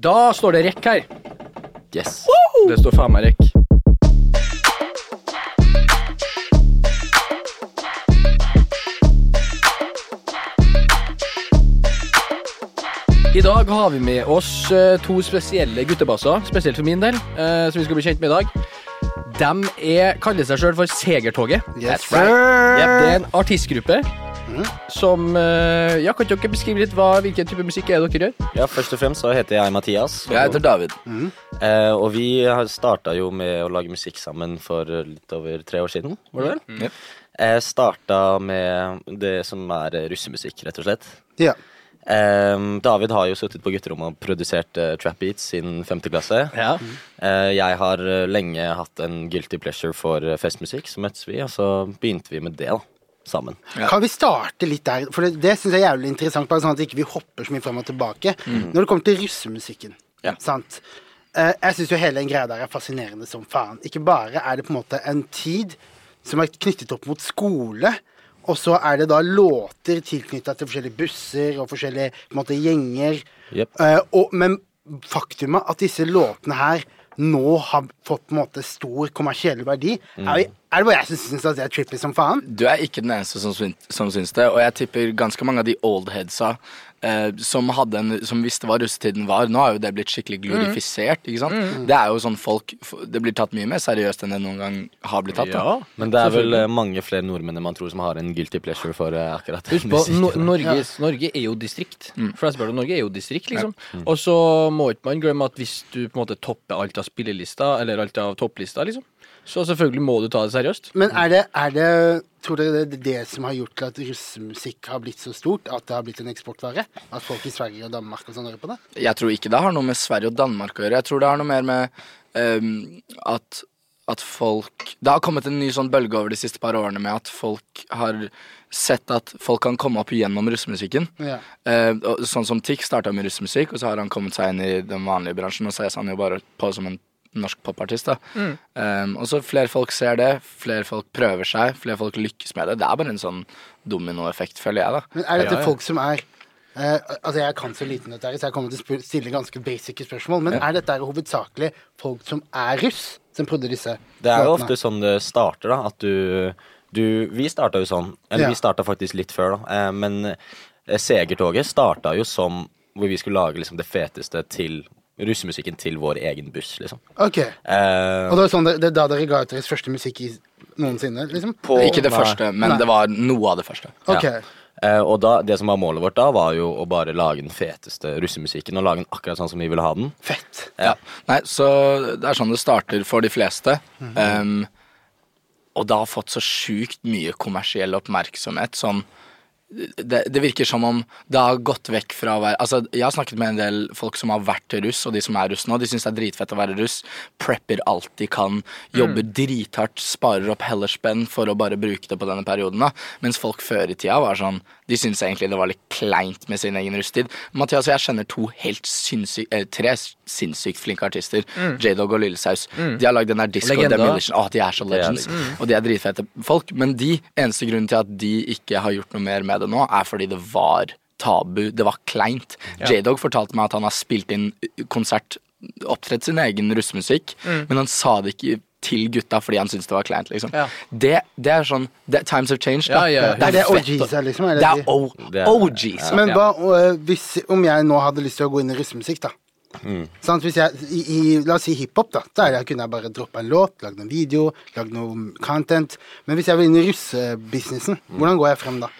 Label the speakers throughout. Speaker 1: Da står det rekk her.
Speaker 2: Yes.
Speaker 1: Det står faen meg rekk. I dag har vi med oss eh, to spesielle guttebasser, spesielt for min del, eh, som vi skal bli kjent med i dag. De er, kaller seg sjøl for Segertoget.
Speaker 2: That's
Speaker 3: sir. Mm.
Speaker 1: Ja, det er en artistgruppe som eh, Ja, kan dere beskrive litt hva, hvilken type musikk er det dere gjør?
Speaker 2: Ja, først og fremst så heter jeg Mathias.
Speaker 3: Jeg heter David.
Speaker 2: Eh, og vi har starta jo med å lage musikk sammen for litt over tre år siden, var det vel?
Speaker 3: Ja.
Speaker 2: Eh, starta med det som er eh, russemusikk, rett og slett.
Speaker 3: Ja.
Speaker 2: Eh, David har jo sittet på gutterommet og produsert eh, trap beats siden femte klasse.
Speaker 1: Ja.
Speaker 2: Eh, jeg har eh, lenge hatt en guilty pleasure for eh, festmusikk, så møttes vi, og så begynte vi med det, da. Sammen.
Speaker 3: Ja.
Speaker 4: Kan vi starte litt der? For det, det syns jeg er jævlig interessant, bare sånn at ikke vi ikke hopper så mye frem og tilbake. Når det kommer til russemusikken,
Speaker 3: Mm. Ja.
Speaker 4: sant. Eh, jeg syns jo hele den greia der er fascinerende som faen. Ikke bare er det på en måte en tid som er knyttet opp mot skole, og så er det da låter tilknytta til forskjellige busser og forskjellige på en måte, gjenger.
Speaker 2: Jep.
Speaker 4: Eh, og, men faktumet at disse låtene her nå har fått på en måte stor kommersiell verdi,
Speaker 3: Mm.
Speaker 4: er, er det bare jeg som syns at det er trippy som faen?
Speaker 3: Du er ikke den eneste som, syn som syns det, og jeg tipper ganske mange av de old headsa eh, som, hadde en, som visste hva russetiden var. Nå har jo det blitt skikkelig glorifisert. ikke sant? Det er jo sånn folk, f- det blir tatt mye mer seriøst enn det noen gang har blitt tatt. da.
Speaker 2: Men det er vel eh, mange flere nordmenn enn man tror som har en guilty pleasure for eh, akkurat
Speaker 1: Husk
Speaker 2: den
Speaker 1: på,
Speaker 2: musikken.
Speaker 1: no Norges, Norge er jo distrikt. Flesteparten av Norge er jo distrikt, liksom. Og så må ikke man glemme at hvis du på en måte topper alt av spillelista, eller alt av topplista, liksom, så selvfølgelig må du ta det seriøst.
Speaker 4: Men er det, er det Tror dere det er det som har gjort til at russemusikk har blitt så stort? At det har blitt en eksportvare? At folk i Sverige og Danmark og sånn hører på det?
Speaker 3: Jeg tror ikke det har noe med Sverige og Danmark å gjøre. Jeg tror det har noe mer med ehm, at, at folk Det har kommet en ny sånn bølge over de siste par årene med at folk har sett at folk kan komme opp gjennom russemusikken.
Speaker 4: Ja.
Speaker 3: Eh, og sånn som Tick starta med russemusikk, og så har han kommet seg inn i den vanlige bransjen, og så er han jo bare på som en norsk popartist, da.
Speaker 4: Mm.
Speaker 3: Eh, og så flere folk ser det, flere folk prøver seg, flere folk lykkes med det. Det er bare en sånn dominoeffekt, føler jeg, da.
Speaker 4: Men er dette
Speaker 1: Ja, ja.
Speaker 4: folk som er eh, altså Jeg kan så liten dette her, så jeg kommer til å spør- stille ganske basic spørsmål. Men er dette her hovedsakelig folk som er russ, som prøvde disse
Speaker 2: Det er jo
Speaker 4: låtene?
Speaker 2: ofte sånn det starter, da. At du, du Vi starta jo sånn. Eller
Speaker 4: Ja.
Speaker 2: vi starta faktisk litt før, da. Eh, Men eh, Segertoget starta jo som hvor vi skulle lage liksom det feteste til russemusikken til vår egen buss, liksom.
Speaker 4: Ok.
Speaker 2: Eh,
Speaker 4: Og det er, sånn, det, det er da dere ga ut deres første musikk i, noensinne, liksom?
Speaker 2: på-
Speaker 3: Ikke det
Speaker 2: Nei.
Speaker 3: første, men
Speaker 4: Nei.
Speaker 3: det var noe av det første.
Speaker 4: Ok.
Speaker 2: Ja. Eh, og da, det som var målet vårt da, var jo å bare lage den feteste russemusikken. Og lage den akkurat sånn som vi ville ha den.
Speaker 4: Fett.
Speaker 3: Ja. Nei, så det er sånn det starter for de fleste.
Speaker 4: Mhm.
Speaker 3: um, og det har fått så sjukt mye kommersiell oppmerksomhet. Sånn, det, det virker som om det har gått vekk fra å være Altså, Jeg har snakket med en del folk som har vært russ, og de som er russ nå. De syns det er dritfett å være russ. Prepper alt de kan. Jobber drithardt. Sparer opp hellerspenn for å bare bruke det på denne perioden. da. Mens folk før i tida var sånn De syntes egentlig det var litt kleint med sin egen russetid. Mathias og jeg kjenner to helt sinnssykt eh, tre sinnssykt flinke artister. J-Dog og Lillesaus. De har lagd den der Disco
Speaker 1: Legender.
Speaker 3: Demolition. Åh, de er så
Speaker 2: er
Speaker 3: legends.
Speaker 2: de.
Speaker 3: Og de er dritfete folk, men de, eneste grunnen til at de ikke har gjort noe mer med det nå, er fordi det var tabu, det var kleint. J-Dog fortalte meg at han har spilt inn konsert, opptrett sin egen russemusikk, men han sa det ikke til gutta fordi han syntes det var kleint, liksom.
Speaker 1: Mm. Ja.
Speaker 3: Det, det er sånn, det, times have changed, da.
Speaker 1: Ja, ja, ja.
Speaker 4: Er det
Speaker 3: fett å-
Speaker 4: OGs her, liksom? Er det
Speaker 3: det
Speaker 4: de-
Speaker 3: er O-
Speaker 2: Det er-
Speaker 3: OGs.
Speaker 4: Men
Speaker 3: ja.
Speaker 4: hva øh, hvis, om jeg nå hadde lyst til å gå inn i russemusikk, da? Sant? Hvis jeg, i, i, la oss si hiphop, da. Der jeg kunne jeg bare droppa en låt, lagd en video, lagd noe content. Men hvis jeg vil inn i russebusinessen, hvordan går jeg frem da?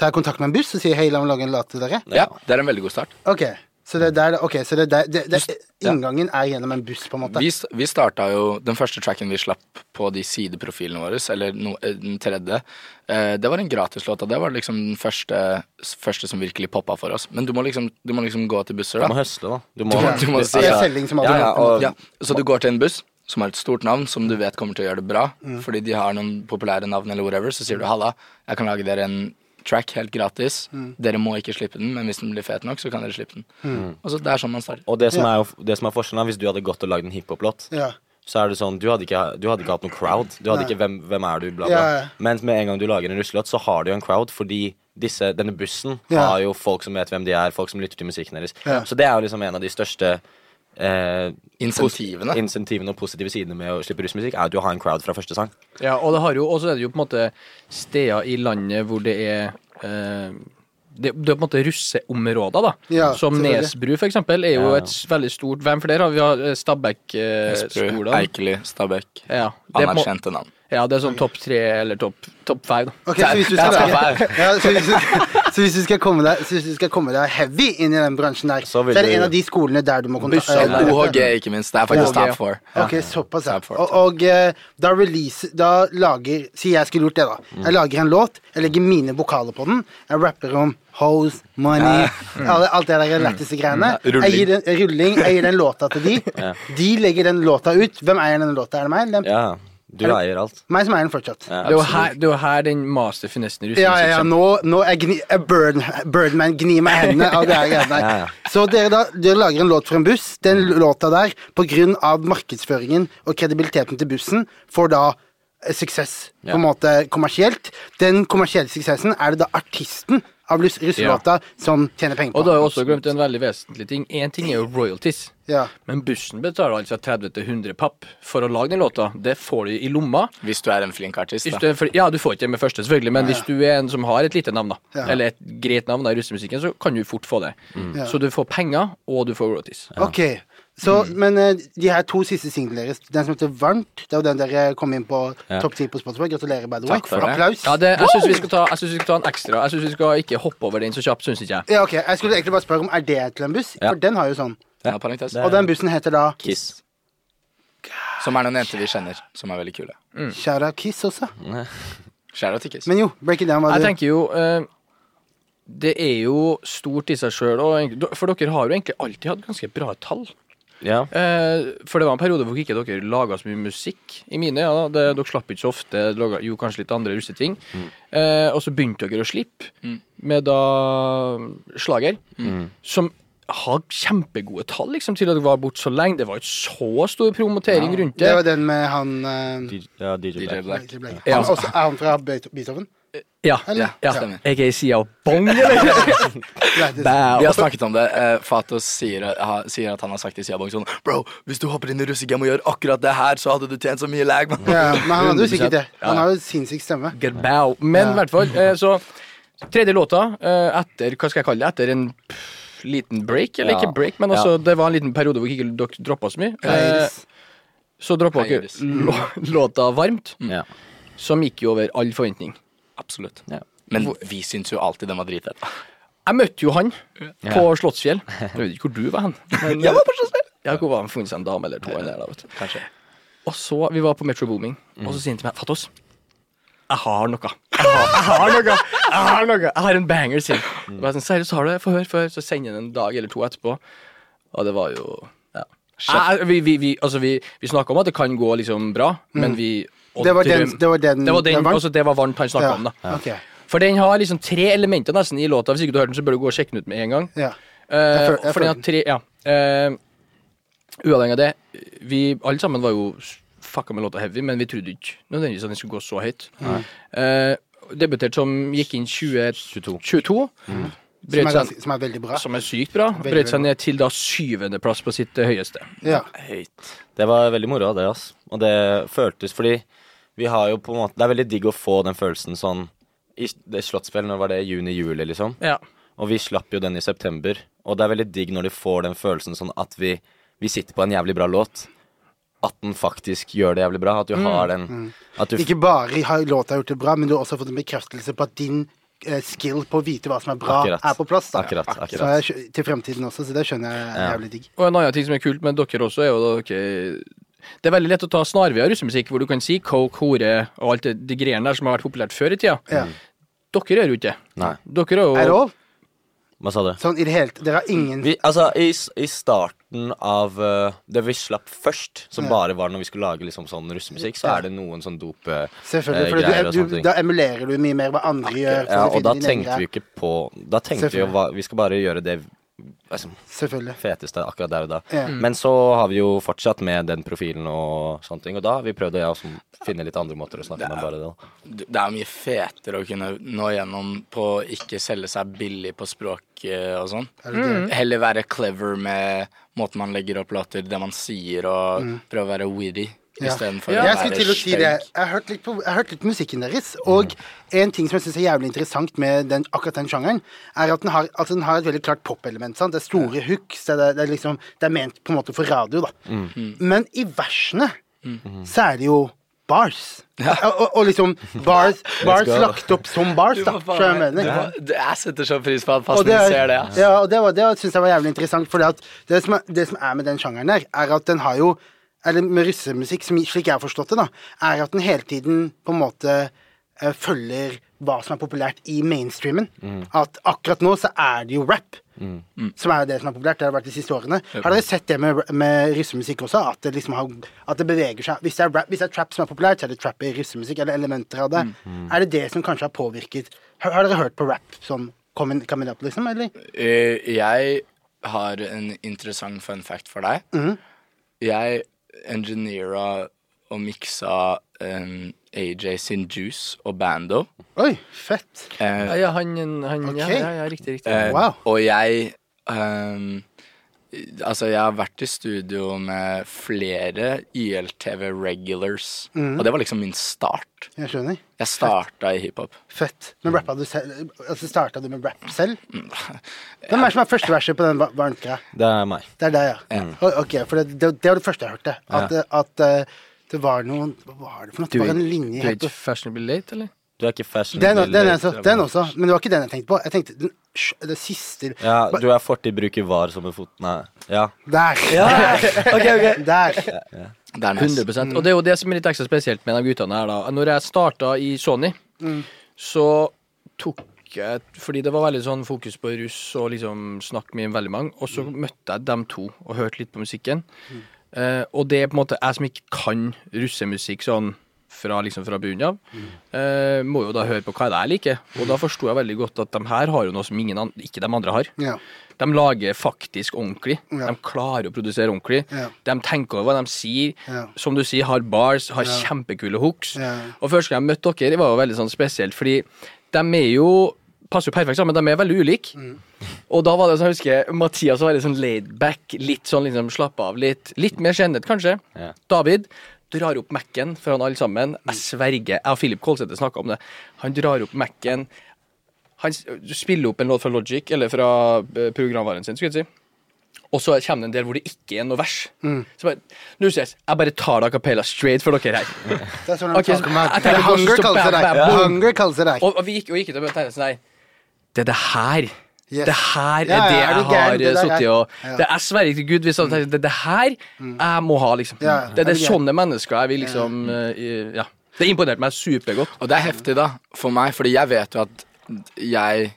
Speaker 4: Tar jeg kontakt med en buss og sier hei, la meg lage en låt til dere?
Speaker 3: ja, det er en veldig god start.
Speaker 4: Ok, så det er der, ok, så det er der det, det, Inngangen er gjennom en buss, på en måte.
Speaker 3: Vi, st- vi starta jo Den første tracken vi slapp på de sideprofilene våre, eller no, eh, den tredje, eh, det var en gratislåt. Og det var liksom den første, s- første som virkelig poppa for oss. Men du må liksom, du må liksom gå til busser,
Speaker 2: Du må
Speaker 3: da.
Speaker 2: høsle, da. Du
Speaker 3: Du må- du må si-
Speaker 4: Det er selging som
Speaker 2: ja,
Speaker 4: aldri
Speaker 2: ja,
Speaker 4: går.
Speaker 2: og,
Speaker 3: Ja, så du går til en buss som har et stort navn, som du vet kommer til å gjøre det bra,
Speaker 2: Mm.
Speaker 3: fordi de har noen populære navn eller whatever, så sier du 'halla, jeg kan lage dere en track helt gratis'.
Speaker 2: Mm.
Speaker 3: Dere må ikke slippe den, men hvis den blir fet nok, så kan dere slippe den. Og så Det er sånn man starter.
Speaker 2: og det som er, jo- det som er forskjellen, er hvis du hadde gått og lagd en hiphop-låt,
Speaker 4: Ja.
Speaker 2: så er det sånn, du hadde ikke, du hadde ikke hatt noen crowd. Du hadde ikke hvem, 'Hvem er du?' bla, bla.
Speaker 4: Ja, ja.
Speaker 2: Men med en gang du lager en russelåt, så har du jo en crowd, fordi disse, denne bussen
Speaker 4: Ja.
Speaker 2: har jo folk som vet hvem de er, folk som lytter til musikken deres.
Speaker 4: Ja.
Speaker 2: Så det er jo liksom en av de største eh,
Speaker 3: Insentivene.
Speaker 2: pos- insentivene og positive sidene med å slippe russmusikk, er jo at du har en crowd fra første sang.
Speaker 1: Ja, og det har jo, og så er det jo på en måte steder i landet hvor det er eh, det, det er på en måte russeområder, da.
Speaker 4: Ja,
Speaker 1: som
Speaker 4: selvfølgelig.
Speaker 1: Nesbru, for eksempel, er jo
Speaker 2: Ja.
Speaker 1: et s- veldig stort Hvem flere har eh, vi? Vi har
Speaker 3: Eh, Nesbru,
Speaker 1: Stabæk-skolen.
Speaker 3: Eikeli, Stabæk.
Speaker 1: ja, det er på en må-
Speaker 3: Anerkjente navn.
Speaker 1: ja, det er sånn topp tre eller topp topp fem, da.
Speaker 4: Ok, så hvis, du
Speaker 3: Ja,
Speaker 4: skal
Speaker 3: det er
Speaker 4: lage, ja, så, hvis du, så hvis du skal komme deg Så hvis du skal komme deg heavy inn i den bransjen der, så,
Speaker 2: Så vil
Speaker 4: er det
Speaker 2: du-
Speaker 4: en av de skolene der du må kontakte
Speaker 1: Bussa,
Speaker 4: eh,
Speaker 3: OHG, ikke minst. Det er faktisk
Speaker 1: OHG.
Speaker 3: Tab for.
Speaker 4: Ok, såpass. Ja.
Speaker 3: Tab for,
Speaker 4: Og, og eh, da release Da lager Si jeg skulle gjort det, da. Jeg lager en låt, jeg legger mine vokaler på den. Jeg rapper om hoes, money, alle, alt det der lætteste greiene. Jeg gir den, eh, rulling. Jeg gir den låta til de. De legger den låta ut. Hvem eier den låta? Er det meg? eller dem?
Speaker 2: Ja, du
Speaker 4: Er det-
Speaker 2: eier alt.
Speaker 4: Meg som eier den fortsatt.
Speaker 2: Ja,
Speaker 1: Det er jo
Speaker 2: absolutt.
Speaker 1: her, det er jo her den masterfinessen i
Speaker 4: Ja, ja,
Speaker 1: russemusikk
Speaker 4: ja.
Speaker 1: kommer.
Speaker 4: Nå, nå er gni, er bird, Birdman gnir meg i hendene av det her greiene
Speaker 2: Ja,
Speaker 4: der.
Speaker 2: ja.
Speaker 4: Så dere, da, dere lager en låt for en buss. Den låta der, på grunn av markedsføringen og kredibiliteten til bussen, får da eh, suksess
Speaker 2: Ja.
Speaker 4: på en måte kommersielt. Den kommersielle suksessen er det da artisten av lus- russelåta som tjener penger på.
Speaker 1: Og du har jo også glemt en veldig vesentlig ting. Én ting er jo royalties.
Speaker 4: Ja.
Speaker 1: Men bussen betaler altså 30-100 papp for å lage den låta. Det får du i lomma.
Speaker 3: Hvis du er en flink artist,
Speaker 1: Hvis
Speaker 3: da.
Speaker 1: du er, for, ja, du får ikke det med første, selvfølgelig, men hvis du er en som har et lite navn, da,
Speaker 4: Ja. Mm.
Speaker 1: eller et greit navn da, i russemusikken, så kan du fort få det.
Speaker 4: Ja.
Speaker 1: Så du får penger, og du får royalties.
Speaker 4: Ok, så, men eh, de her to siste singlene deres, den som heter Varmt, det er jo den dere kom inn på
Speaker 2: Ja.
Speaker 4: topp 10 på Spotify. Gratulerer, by the way.
Speaker 3: Takk for det.
Speaker 4: Applaus.
Speaker 1: Ja, det, jeg syns vi, skal ta- jeg synes vi skal ta en ekstra. Jeg syns vi skal ikke hoppe over den så kjapt, syns ikke jeg.
Speaker 4: Ja, ok, Jeg skulle egentlig bare spørre om er det til en buss,
Speaker 2: Ja.
Speaker 4: for den har jo sånn.
Speaker 3: Ja, parentes.
Speaker 4: Og den bussen heter da
Speaker 2: Kiss.
Speaker 3: Som er noen jenter vi kjenner, som er veldig kule.
Speaker 4: Shara Kiss også.
Speaker 3: Skjæra tikkes.
Speaker 4: Men jo, break it down. Hva
Speaker 1: Jeg
Speaker 4: du...
Speaker 1: tenker jo eh, Det er jo stort i seg sjøl, for dere har jo egentlig alltid hatt ganske bra tall.
Speaker 2: Ja.
Speaker 1: Eh, for det var en periode hvor ikke dere laga så mye musikk, i mine øyne. da. Det- Dere slapp ikke så ofte, laga jo kanskje litt andre russeting.
Speaker 4: Mm.
Speaker 1: Eh, og så begynte dere å slippe med da mm, slager,
Speaker 4: Mm.
Speaker 1: som har kjempegode tall liksom, til at dere var borte så lenge. Det var ikke så stor promotering rundt det.
Speaker 4: Det var den med han eh,
Speaker 2: D- Ja, DJ
Speaker 3: DJ
Speaker 2: Black.
Speaker 3: Black.
Speaker 4: Blake- Blake.
Speaker 1: Ja.
Speaker 4: Han, også, Er han fra Beetho- Beethoven?
Speaker 1: ja,
Speaker 4: Eller?
Speaker 1: ja.
Speaker 3: Stemmer.
Speaker 1: Aka Sia og Bong, eller?
Speaker 4: Nei, det-
Speaker 3: Vi har snakket om det. eh, Fatos sier, ha, sier at han har sagt til Siabong sånn Bro, hvis du hopper inn i russegame og gjør akkurat det her, så hadde du tjent så mye lag, mann.
Speaker 4: Ja, men han hadde jo sikkert det.
Speaker 1: 100%.
Speaker 4: Han har jo sinnssyk stemme.
Speaker 1: Gerbau. Men i
Speaker 4: Ja.
Speaker 1: hvert fall, eh, så Tredje låta, eh, etter hva skal jeg kalle det, etter en pff, liten break, eller
Speaker 2: Ja.
Speaker 1: ikke break, men altså, det var en liten periode hvor ikke dere droppa så mye. Eh,
Speaker 4: Iris.
Speaker 1: Så droppa
Speaker 3: Hei,
Speaker 1: dere
Speaker 3: Iris.
Speaker 2: Mm.
Speaker 1: lå- låta 'Varmt',
Speaker 2: Ja.
Speaker 1: som gikk jo over all forventning.
Speaker 3: Absolutt.
Speaker 2: Ja.
Speaker 3: Men vi syns jo alltid den var dritfett.
Speaker 1: Jeg møtte jo han på Slottsfjell. Jeg vet ikke hvor du var hen. Men, jeg var på Slottsfjell! Ja, hvor var han funnet seg en dame eller to der, da, vet du.
Speaker 3: Kanskje.
Speaker 1: Og så, vi var på Metro Booming, og
Speaker 4: Mm.
Speaker 1: så sier han til meg Fatos, jeg har noe. Jeg har, jeg har noe. Jeg har noe. Jeg har en banger, sier
Speaker 4: Mm.
Speaker 1: han. Og jeg sånn, Seriøst, har du det? Få høre, få høre. Så sender han en dag eller to etterpå, og det var jo ja. Jeg- Vi, vi, vi, altså, vi, vi snakka om at det kan gå liksom bra, men vi og
Speaker 4: Mm. Det var
Speaker 1: drøm-
Speaker 4: den, det var den,
Speaker 1: Det var den,
Speaker 4: den
Speaker 1: altså det var varmt han snakka om, da.
Speaker 4: Ja. ok.
Speaker 1: For den har liksom tre elementer nesten i låta. Hvis ikke du har hørt den, så bør du gå og sjekke den ut med en gang.
Speaker 4: Ja.
Speaker 1: Eh,
Speaker 4: føl- jeg
Speaker 1: for den har
Speaker 4: føler
Speaker 1: tre Ja. Eh, uavhengig av det, vi alle sammen var jo s- fucka med låta Heavy, men vi trodde ikke nødvendigvis at den skulle gå så høyt. Eh, debutert som gikk inn 2022. 22,
Speaker 4: Som, er
Speaker 1: brøt seg,
Speaker 4: ganske, som er veldig bra.
Speaker 1: som er sykt bra. Brøt
Speaker 4: veldig
Speaker 1: seg
Speaker 4: bra.
Speaker 1: ned til da syvendeplass på sitt eh, høyeste.
Speaker 4: Ja.
Speaker 2: Det var veldig moro av det, ass. Og det føltes fordi vi har jo på en måte Det er veldig digg å få den følelsen sånn i s- det Slottsspill, når var det? Juni-juli, liksom?
Speaker 1: Ja.
Speaker 2: Og vi slapp jo den i september. Og det er veldig digg når du får den følelsen sånn at vi, vi sitter på en jævlig bra låt. At den faktisk gjør det jævlig bra. At du har den At du
Speaker 4: Mm. Ikke bare har låta gjort det bra, men du har også fått en bekreftelse på at din eh, skill på å vite hva som er bra,
Speaker 2: Akkurat.
Speaker 4: er på plass. Da.
Speaker 2: Akkurat, akkurat.
Speaker 4: Så jeg, skjø- til fremtiden også, så det skjønner jeg er jævlig digg.
Speaker 1: Og en annen ting som er kult med dere også, er jo da dere Det er veldig lett å ta snarveier i russemusikk, hvor du kan si coke, hore og alt det de greiene der som har vært populært før i tida.
Speaker 4: Ja.
Speaker 1: Dere gjør jo ikke det.
Speaker 2: Nei.
Speaker 1: Dere er jo
Speaker 4: Er det all?
Speaker 2: Hva sa du?
Speaker 4: Sånn i det hele Dere har ingen
Speaker 2: Vi, altså, i, s- I starten av eh, det vi slapp først, som bare var når vi skulle lage liksom sånn russemusikk, så er det noen sånn
Speaker 4: Selvfølgelig, for
Speaker 2: dopegreier Eh, og
Speaker 4: du,
Speaker 2: sånne
Speaker 4: du,
Speaker 2: ting.
Speaker 4: da emulerer du mye mer hva andre gjør. for
Speaker 2: Ja,
Speaker 4: å
Speaker 2: og
Speaker 4: finne
Speaker 2: da
Speaker 4: din egen
Speaker 2: tenkte vi
Speaker 4: greie.
Speaker 2: jo ikke på Da tenkte vi jo hva, vi skal bare gjøre det liksom,
Speaker 4: Selvfølgelig.
Speaker 2: feteste akkurat der og da.
Speaker 4: Ja.
Speaker 2: Men så har vi jo fortsatt med den profilen og sånne ting, og da har vi prøvd å ja, som- finne litt andre måter å snakke med bare det. da.
Speaker 3: Det det er mye fetere å kunne nå gjennom på å ikke selge seg billig på språk eh, og sånn. Heller være clever med måten man legger opp låter, det man sier, og prøve å være witty
Speaker 4: Mm. Ja.
Speaker 3: istedenfor
Speaker 4: Jeg
Speaker 3: å
Speaker 4: skulle
Speaker 3: være
Speaker 4: til å si det.
Speaker 3: stygg.
Speaker 4: Jeg har hørt litt, på, jeg har hørt litt musikken deres, og
Speaker 2: Mm.
Speaker 4: en ting som jeg syns er jævlig interessant med den, akkurat den sjangeren, er at den har, altså den har et veldig klart popelement. sant? Det er store hooks, det er, det, er liksom, det er ment på en måte for radio, da.
Speaker 2: Mm.
Speaker 4: Men i versene så er det jo bars. Og, og, og liksom bars, bars
Speaker 2: go.
Speaker 4: lagt opp som bars, da.
Speaker 3: Faen,
Speaker 4: Skjønner du hva jeg mener?
Speaker 3: det- det- Jeg setter så pris på at
Speaker 4: Og det,
Speaker 3: Fasten
Speaker 4: er,
Speaker 3: ser det. ass.
Speaker 4: ja, og det, var- det syns jeg var jævlig interessant. For det, som er- det som er med den sjangeren der, er at den har jo Eller med russemusikk, som, slik jeg har forstått det, da, er at den hele tiden på en måte eh, følger hva som er populært i mainstreamen. At akkurat nå så er det jo rap. Som er jo det som er populært. Det har det vært de siste årene. Har dere sett det med, med russemusikk også? At det liksom har, at det beveger seg hvis det, er rap, hvis det er trap som er populært, så er det trap i russemusikk, eller elementer av det. Er det det som kanskje har påvirket Har, har dere hørt på rap som coming, coming up, liksom? Eller?
Speaker 3: Eh, Jeg har en interessant fun fact for deg.
Speaker 4: Mm.
Speaker 3: Jeg engineera og miksa um, AJ sin Juice og Bando.
Speaker 4: Oi, fett.
Speaker 3: Eh,
Speaker 1: Ja, ja, han, han ja,
Speaker 4: Ok.
Speaker 1: ja, ja, riktig, riktig.
Speaker 3: Eh,
Speaker 4: Wow.
Speaker 3: Og jeg ehm, Altså, jeg har vært i studio med flere YLTV regulars, og det var liksom min start.
Speaker 4: Jeg skjønner.
Speaker 3: Jeg starta i hiphop.
Speaker 4: Fett. Men rappa du selv Altså starta du med rap selv? Hvem er det som er første verset på den va- varmtgreia?
Speaker 2: Det er meg.
Speaker 4: Det er deg, ja. Oi, Ok, for det, det, det var det første jeg hørte. At, eh, at eh, det var noen Hva var det for noe? Det var en linje
Speaker 1: Du er
Speaker 4: helt
Speaker 1: ikke fashionably late, eller?
Speaker 2: Du er ikke fashion
Speaker 4: den, den,
Speaker 2: eller-
Speaker 4: også, den også, men det var ikke den jeg tenkte på. Jeg tenkte den, sj- det siste
Speaker 2: Ja, du er fortid, bruker var som en fot... Nei. Ja.
Speaker 4: Der! Der.
Speaker 3: Det er nice.
Speaker 1: 100 Og det er jo det som er litt ekstra spesielt med de guttene her, da. Når jeg starta i Sony, så tok jeg Fordi det var veldig sånn fokus på russ og liksom snakk med veldig mange, og så møtte jeg dem to og hørte litt på musikken. Eh, og det er på en måte jeg som ikke kan russemusikk sånn fra, liksom fra bunnen av, eh, må jo da høre på hva det er jeg liker. Og da forsto jeg veldig godt at de her har jo noe som ingen andre, ikke de andre har.
Speaker 4: Ja.
Speaker 1: De lager faktisk ordentlig.
Speaker 4: Ja.
Speaker 1: De klarer å produsere ordentlig.
Speaker 4: Ja.
Speaker 1: De tenker over hva de sier.
Speaker 4: Ja.
Speaker 1: Som du sier, har bars, har kjempekule hooks.
Speaker 4: Ja.
Speaker 1: Og første gang jeg møtte dere, var jo veldig sånn spesielt, fordi de er jo Passer jo perfekt sammen, de er veldig ulike.
Speaker 4: Mm.
Speaker 1: Og da var det sånn, jeg husker Mathias var veldig sånn laid back, litt sånn liksom slapp av litt. Litt mer skjennet, kanskje.
Speaker 2: Ja.
Speaker 1: David drar opp Mac-en foran alle sammen. Jeg sverger. Jeg og Philip Kolsæter snakka om det. Han drar opp Mac-en. Han s- spiller opp en låt fra Logic, eller fra eh, programvaren sin, skulle jeg si. Og så kommer det en del hvor det ikke er noe vers. Så bare, nå ses, jeg bare tar det a cappella straight for dere her.
Speaker 4: Det er sånn de
Speaker 1: Ok, så-
Speaker 4: snakker om at-
Speaker 1: jeg
Speaker 4: Det
Speaker 1: tenker
Speaker 4: er
Speaker 1: bare
Speaker 4: hunger
Speaker 1: så
Speaker 4: kalles det
Speaker 1: bam,
Speaker 4: der.
Speaker 1: bam, boom.
Speaker 4: Hunger kalles det der.
Speaker 1: Og, og vi gikk, og vi gikk ut og møtte henne sånn der Det er det her.
Speaker 4: Yes.
Speaker 1: Det her er
Speaker 4: Ja, ja,
Speaker 1: det
Speaker 4: er
Speaker 1: jeg
Speaker 4: du gæren?
Speaker 1: har
Speaker 4: Det der
Speaker 1: sittet
Speaker 4: er-
Speaker 1: og
Speaker 4: Ja. Mm.
Speaker 1: det, Jeg sverger til Gud hvis jeg tenker, det er det her jeg må ha, liksom.
Speaker 4: Ja, ja.
Speaker 1: Det,
Speaker 4: Er
Speaker 1: det
Speaker 4: du
Speaker 1: er
Speaker 4: gæren?
Speaker 1: sånne mennesker jeg vil liksom eh, i- Ja. Det imponerte meg supergodt.
Speaker 3: Og det er heftig, da, for meg, fordi jeg vet jo at jeg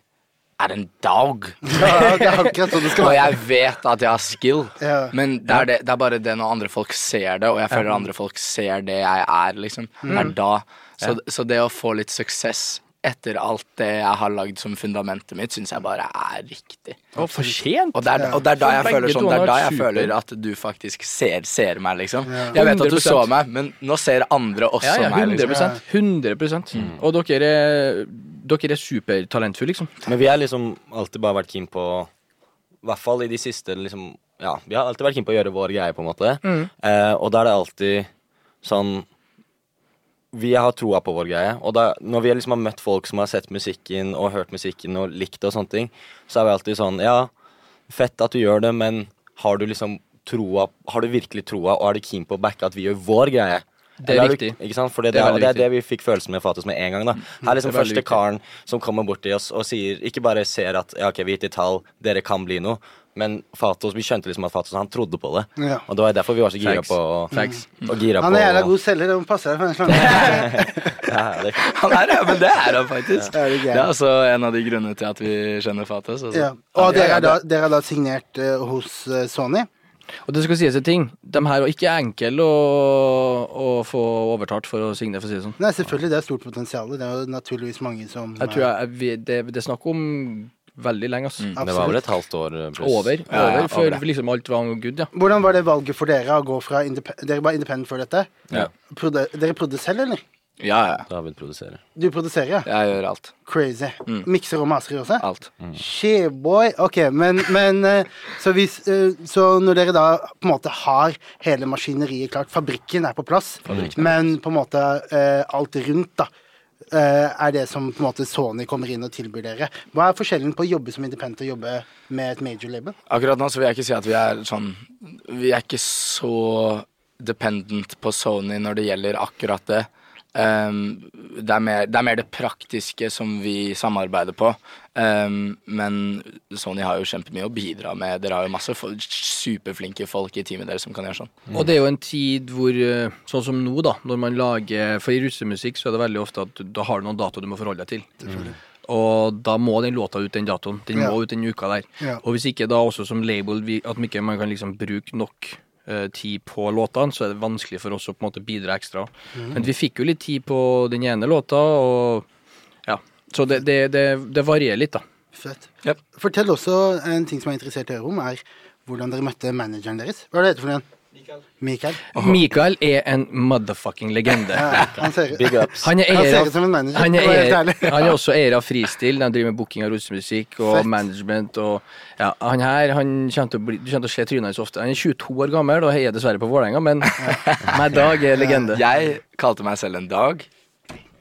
Speaker 3: er en dog.
Speaker 4: Ja, det er akkurat sånn det skal
Speaker 3: Og
Speaker 4: være.
Speaker 3: jeg vet at jeg har skill,
Speaker 4: Ja.
Speaker 3: men det er, det, det er bare det når andre folk ser det, og jeg føler andre folk ser det jeg er, liksom.
Speaker 4: Mm.
Speaker 3: Er da. Så, så det å få litt suksess etter alt det jeg har lagd som fundamentet mitt, syns jeg bare er riktig.
Speaker 1: fortjent!
Speaker 3: Og det er, og det er da jeg
Speaker 1: For begge
Speaker 3: føler sånn,
Speaker 1: to
Speaker 3: det er
Speaker 1: har
Speaker 3: da
Speaker 1: vært
Speaker 3: jeg
Speaker 1: super.
Speaker 3: føler at du faktisk ser, ser meg, liksom.
Speaker 4: Ja.
Speaker 3: Jeg vet at du
Speaker 1: 100%.
Speaker 3: så meg, men nå ser andre også
Speaker 1: Ja, ja,
Speaker 3: meg.
Speaker 1: 100
Speaker 3: Liksom.
Speaker 1: 100 Og dere er, dere er supertalentfulle, liksom.
Speaker 2: Men vi har liksom alltid bare vært keen på I hvert fall i de siste liksom, Ja, vi har alltid vært keen på å gjøre vår greie, på en måte.
Speaker 1: Mm.
Speaker 2: Eh, og da er det alltid sånn Vi har troa på vår greie. Og da, når vi liksom har møtt folk som har sett musikken og hørt musikken og likt det og sånne ting, så er vi alltid sånn Ja, fett at du gjør det, men har du liksom troa Har du virkelig troa, og er du keen på å backe at vi gjør vår greie?
Speaker 1: Det er
Speaker 2: Eller
Speaker 1: viktig.
Speaker 2: Du, ikke sant? For det,
Speaker 1: Det er
Speaker 2: det, er-
Speaker 1: veldig
Speaker 2: det er det vi fikk følelsen med Fatos med en gang. da Her er liksom
Speaker 1: Det er veldig
Speaker 2: første
Speaker 1: viktig.
Speaker 2: karen som kommer bort til oss og sier Ikke bare ser at ja, ok, vi gir til tall, dere kan bli noe, men Fatos, vi skjønte liksom at Fatos han trodde på det.
Speaker 4: Ja.
Speaker 2: Og det var derfor vi var så gira
Speaker 1: Facts.
Speaker 2: på
Speaker 1: Facts.
Speaker 2: Og gira
Speaker 4: Han er
Speaker 2: på-
Speaker 4: jævla god selger, det må passe deg for sånn- den slangen.
Speaker 2: Ja, det,
Speaker 3: Han er det, men det er han faktisk.
Speaker 4: Ja, det er gøy.
Speaker 3: Det er også en av de grunnene til at vi skjønner Fates. Altså.
Speaker 4: Mm. Ja. Og dere er da, dere er da signert eh, hos eh, Sony?
Speaker 1: Og det skal sies en ting. De her var ikke enkle å, å få overtalt for å signere, for å si det sånn.
Speaker 4: Nei, selvfølgelig, det er stort potensial. Det er jo naturligvis mange som
Speaker 1: Jeg tror jeg, vi, det, det er snakk om veldig lenge, altså.
Speaker 4: Mm.
Speaker 2: Det var vel
Speaker 4: Absolutt.
Speaker 2: et halvt år eh, pluss.
Speaker 1: Over. Over,
Speaker 3: Ja, ja, over
Speaker 1: før
Speaker 3: det.
Speaker 1: liksom alt var good, ja.
Speaker 4: Hvordan var det valget for dere å gå fra independent Dere var independent før dette?
Speaker 2: Ja.
Speaker 4: Produ dere produserer selv, eller?
Speaker 3: Ja, ja.
Speaker 2: David produserer.
Speaker 4: Du produserer, ja?
Speaker 3: Jeg gjør alt.
Speaker 4: Crazy.
Speaker 2: Mm.
Speaker 4: Mikser og maser også?
Speaker 3: Alt.
Speaker 4: Sheboy. Ok, men, men eh, så, hvis, eh, så når dere da på en måte har hele maskineriet klart, fabrikken er på plass, men på en måte eh, alt rundt, da, eh, er det som på en måte Sony kommer inn og tilbyr dere. Hva er forskjellen på å jobbe som independent og jobbe med et major label?
Speaker 3: Akkurat nå så vil jeg ikke si at vi er sånn Vi er ikke så dependent på Sony når det gjelder akkurat det. Ehm, det, er mer, det er mer det praktiske som vi samarbeider på. Ehm, men Sony har jo kjempemye å bidra med. Dere har jo masse fol- superflinke folk i teamet deres som kan gjøre sånn.
Speaker 1: Og det er jo en tid hvor, eh, sånn som nå, da, når man lager For i russemusikk så er det veldig ofte at du- da har du noen datoer du må forholde deg til. Og da må den låta ut den datoen. Den
Speaker 4: Ja.
Speaker 1: må ut den uka der.
Speaker 4: Ja.
Speaker 1: Og hvis ikke da også som label vi- at man ikke man kan liksom bruke nok eh, tid på låtene, så er det vanskelig for oss å på en måte bidra ekstra.
Speaker 4: Mm.
Speaker 1: Men vi fikk jo litt tid på den ene låta, og ja. Så det, det, det, det varierer litt, da.
Speaker 4: Fett.
Speaker 3: Yep.
Speaker 4: Fortell også en ting som jeg er interessert i å høre om, er hvordan dere møtte manageren deres. Hva er det heter for noen? Mikael.
Speaker 1: Mikael er en motherfucking legende.
Speaker 4: Ja, han ser
Speaker 2: Big ups.
Speaker 1: Han er
Speaker 4: Han
Speaker 1: eier
Speaker 4: ser
Speaker 1: av-
Speaker 4: ut som en manager,
Speaker 1: Han er,
Speaker 4: for å være helt
Speaker 1: eier,
Speaker 4: ærlig.
Speaker 1: han er også eier av Fristil. De driver med booking av russemusikk og
Speaker 4: Fett.
Speaker 1: management. Og, ja, han her han kommer til å bli, du kommer til å se trynet hans ofte. Han er 22 år gammel og heier dessverre på Vålerenga, men med Dag er legende.
Speaker 3: Jeg kalte meg selv en dag.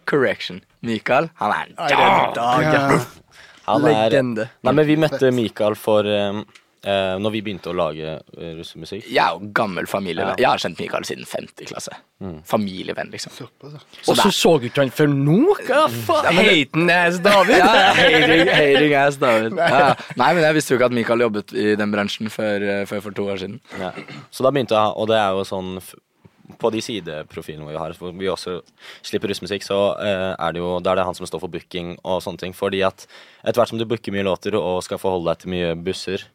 Speaker 3: Correction. Michael, han er en dag.
Speaker 4: Ja.
Speaker 2: Han
Speaker 1: Legende.
Speaker 2: Nei, men vi møtte Mikael for um, eh, Når vi begynte å lage eh, russemusikk.
Speaker 3: Jeg er jo gammel familie. Jeg har kjent Michael siden 50 klasse. Familievenn, liksom.
Speaker 4: Mm. Såpass, ja.
Speaker 1: Og så så du ikke han før nå! Hva faen? Haten ass David!
Speaker 3: Ja, hating, hating ass David. Ja. Nei, men jeg visste jo ikke at Michael jobbet i den bransjen før, eh, før for to år siden.
Speaker 2: Ja. Så da begynte jeg, og det er jo sånn f- På de sideprofilene vi har, hvor vi også slipper russmusikk, så eh, er det jo Da er det han som står for booking og sånne ting. Fordi at etter hvert som du booker mye låter og skal forholde deg til mye busser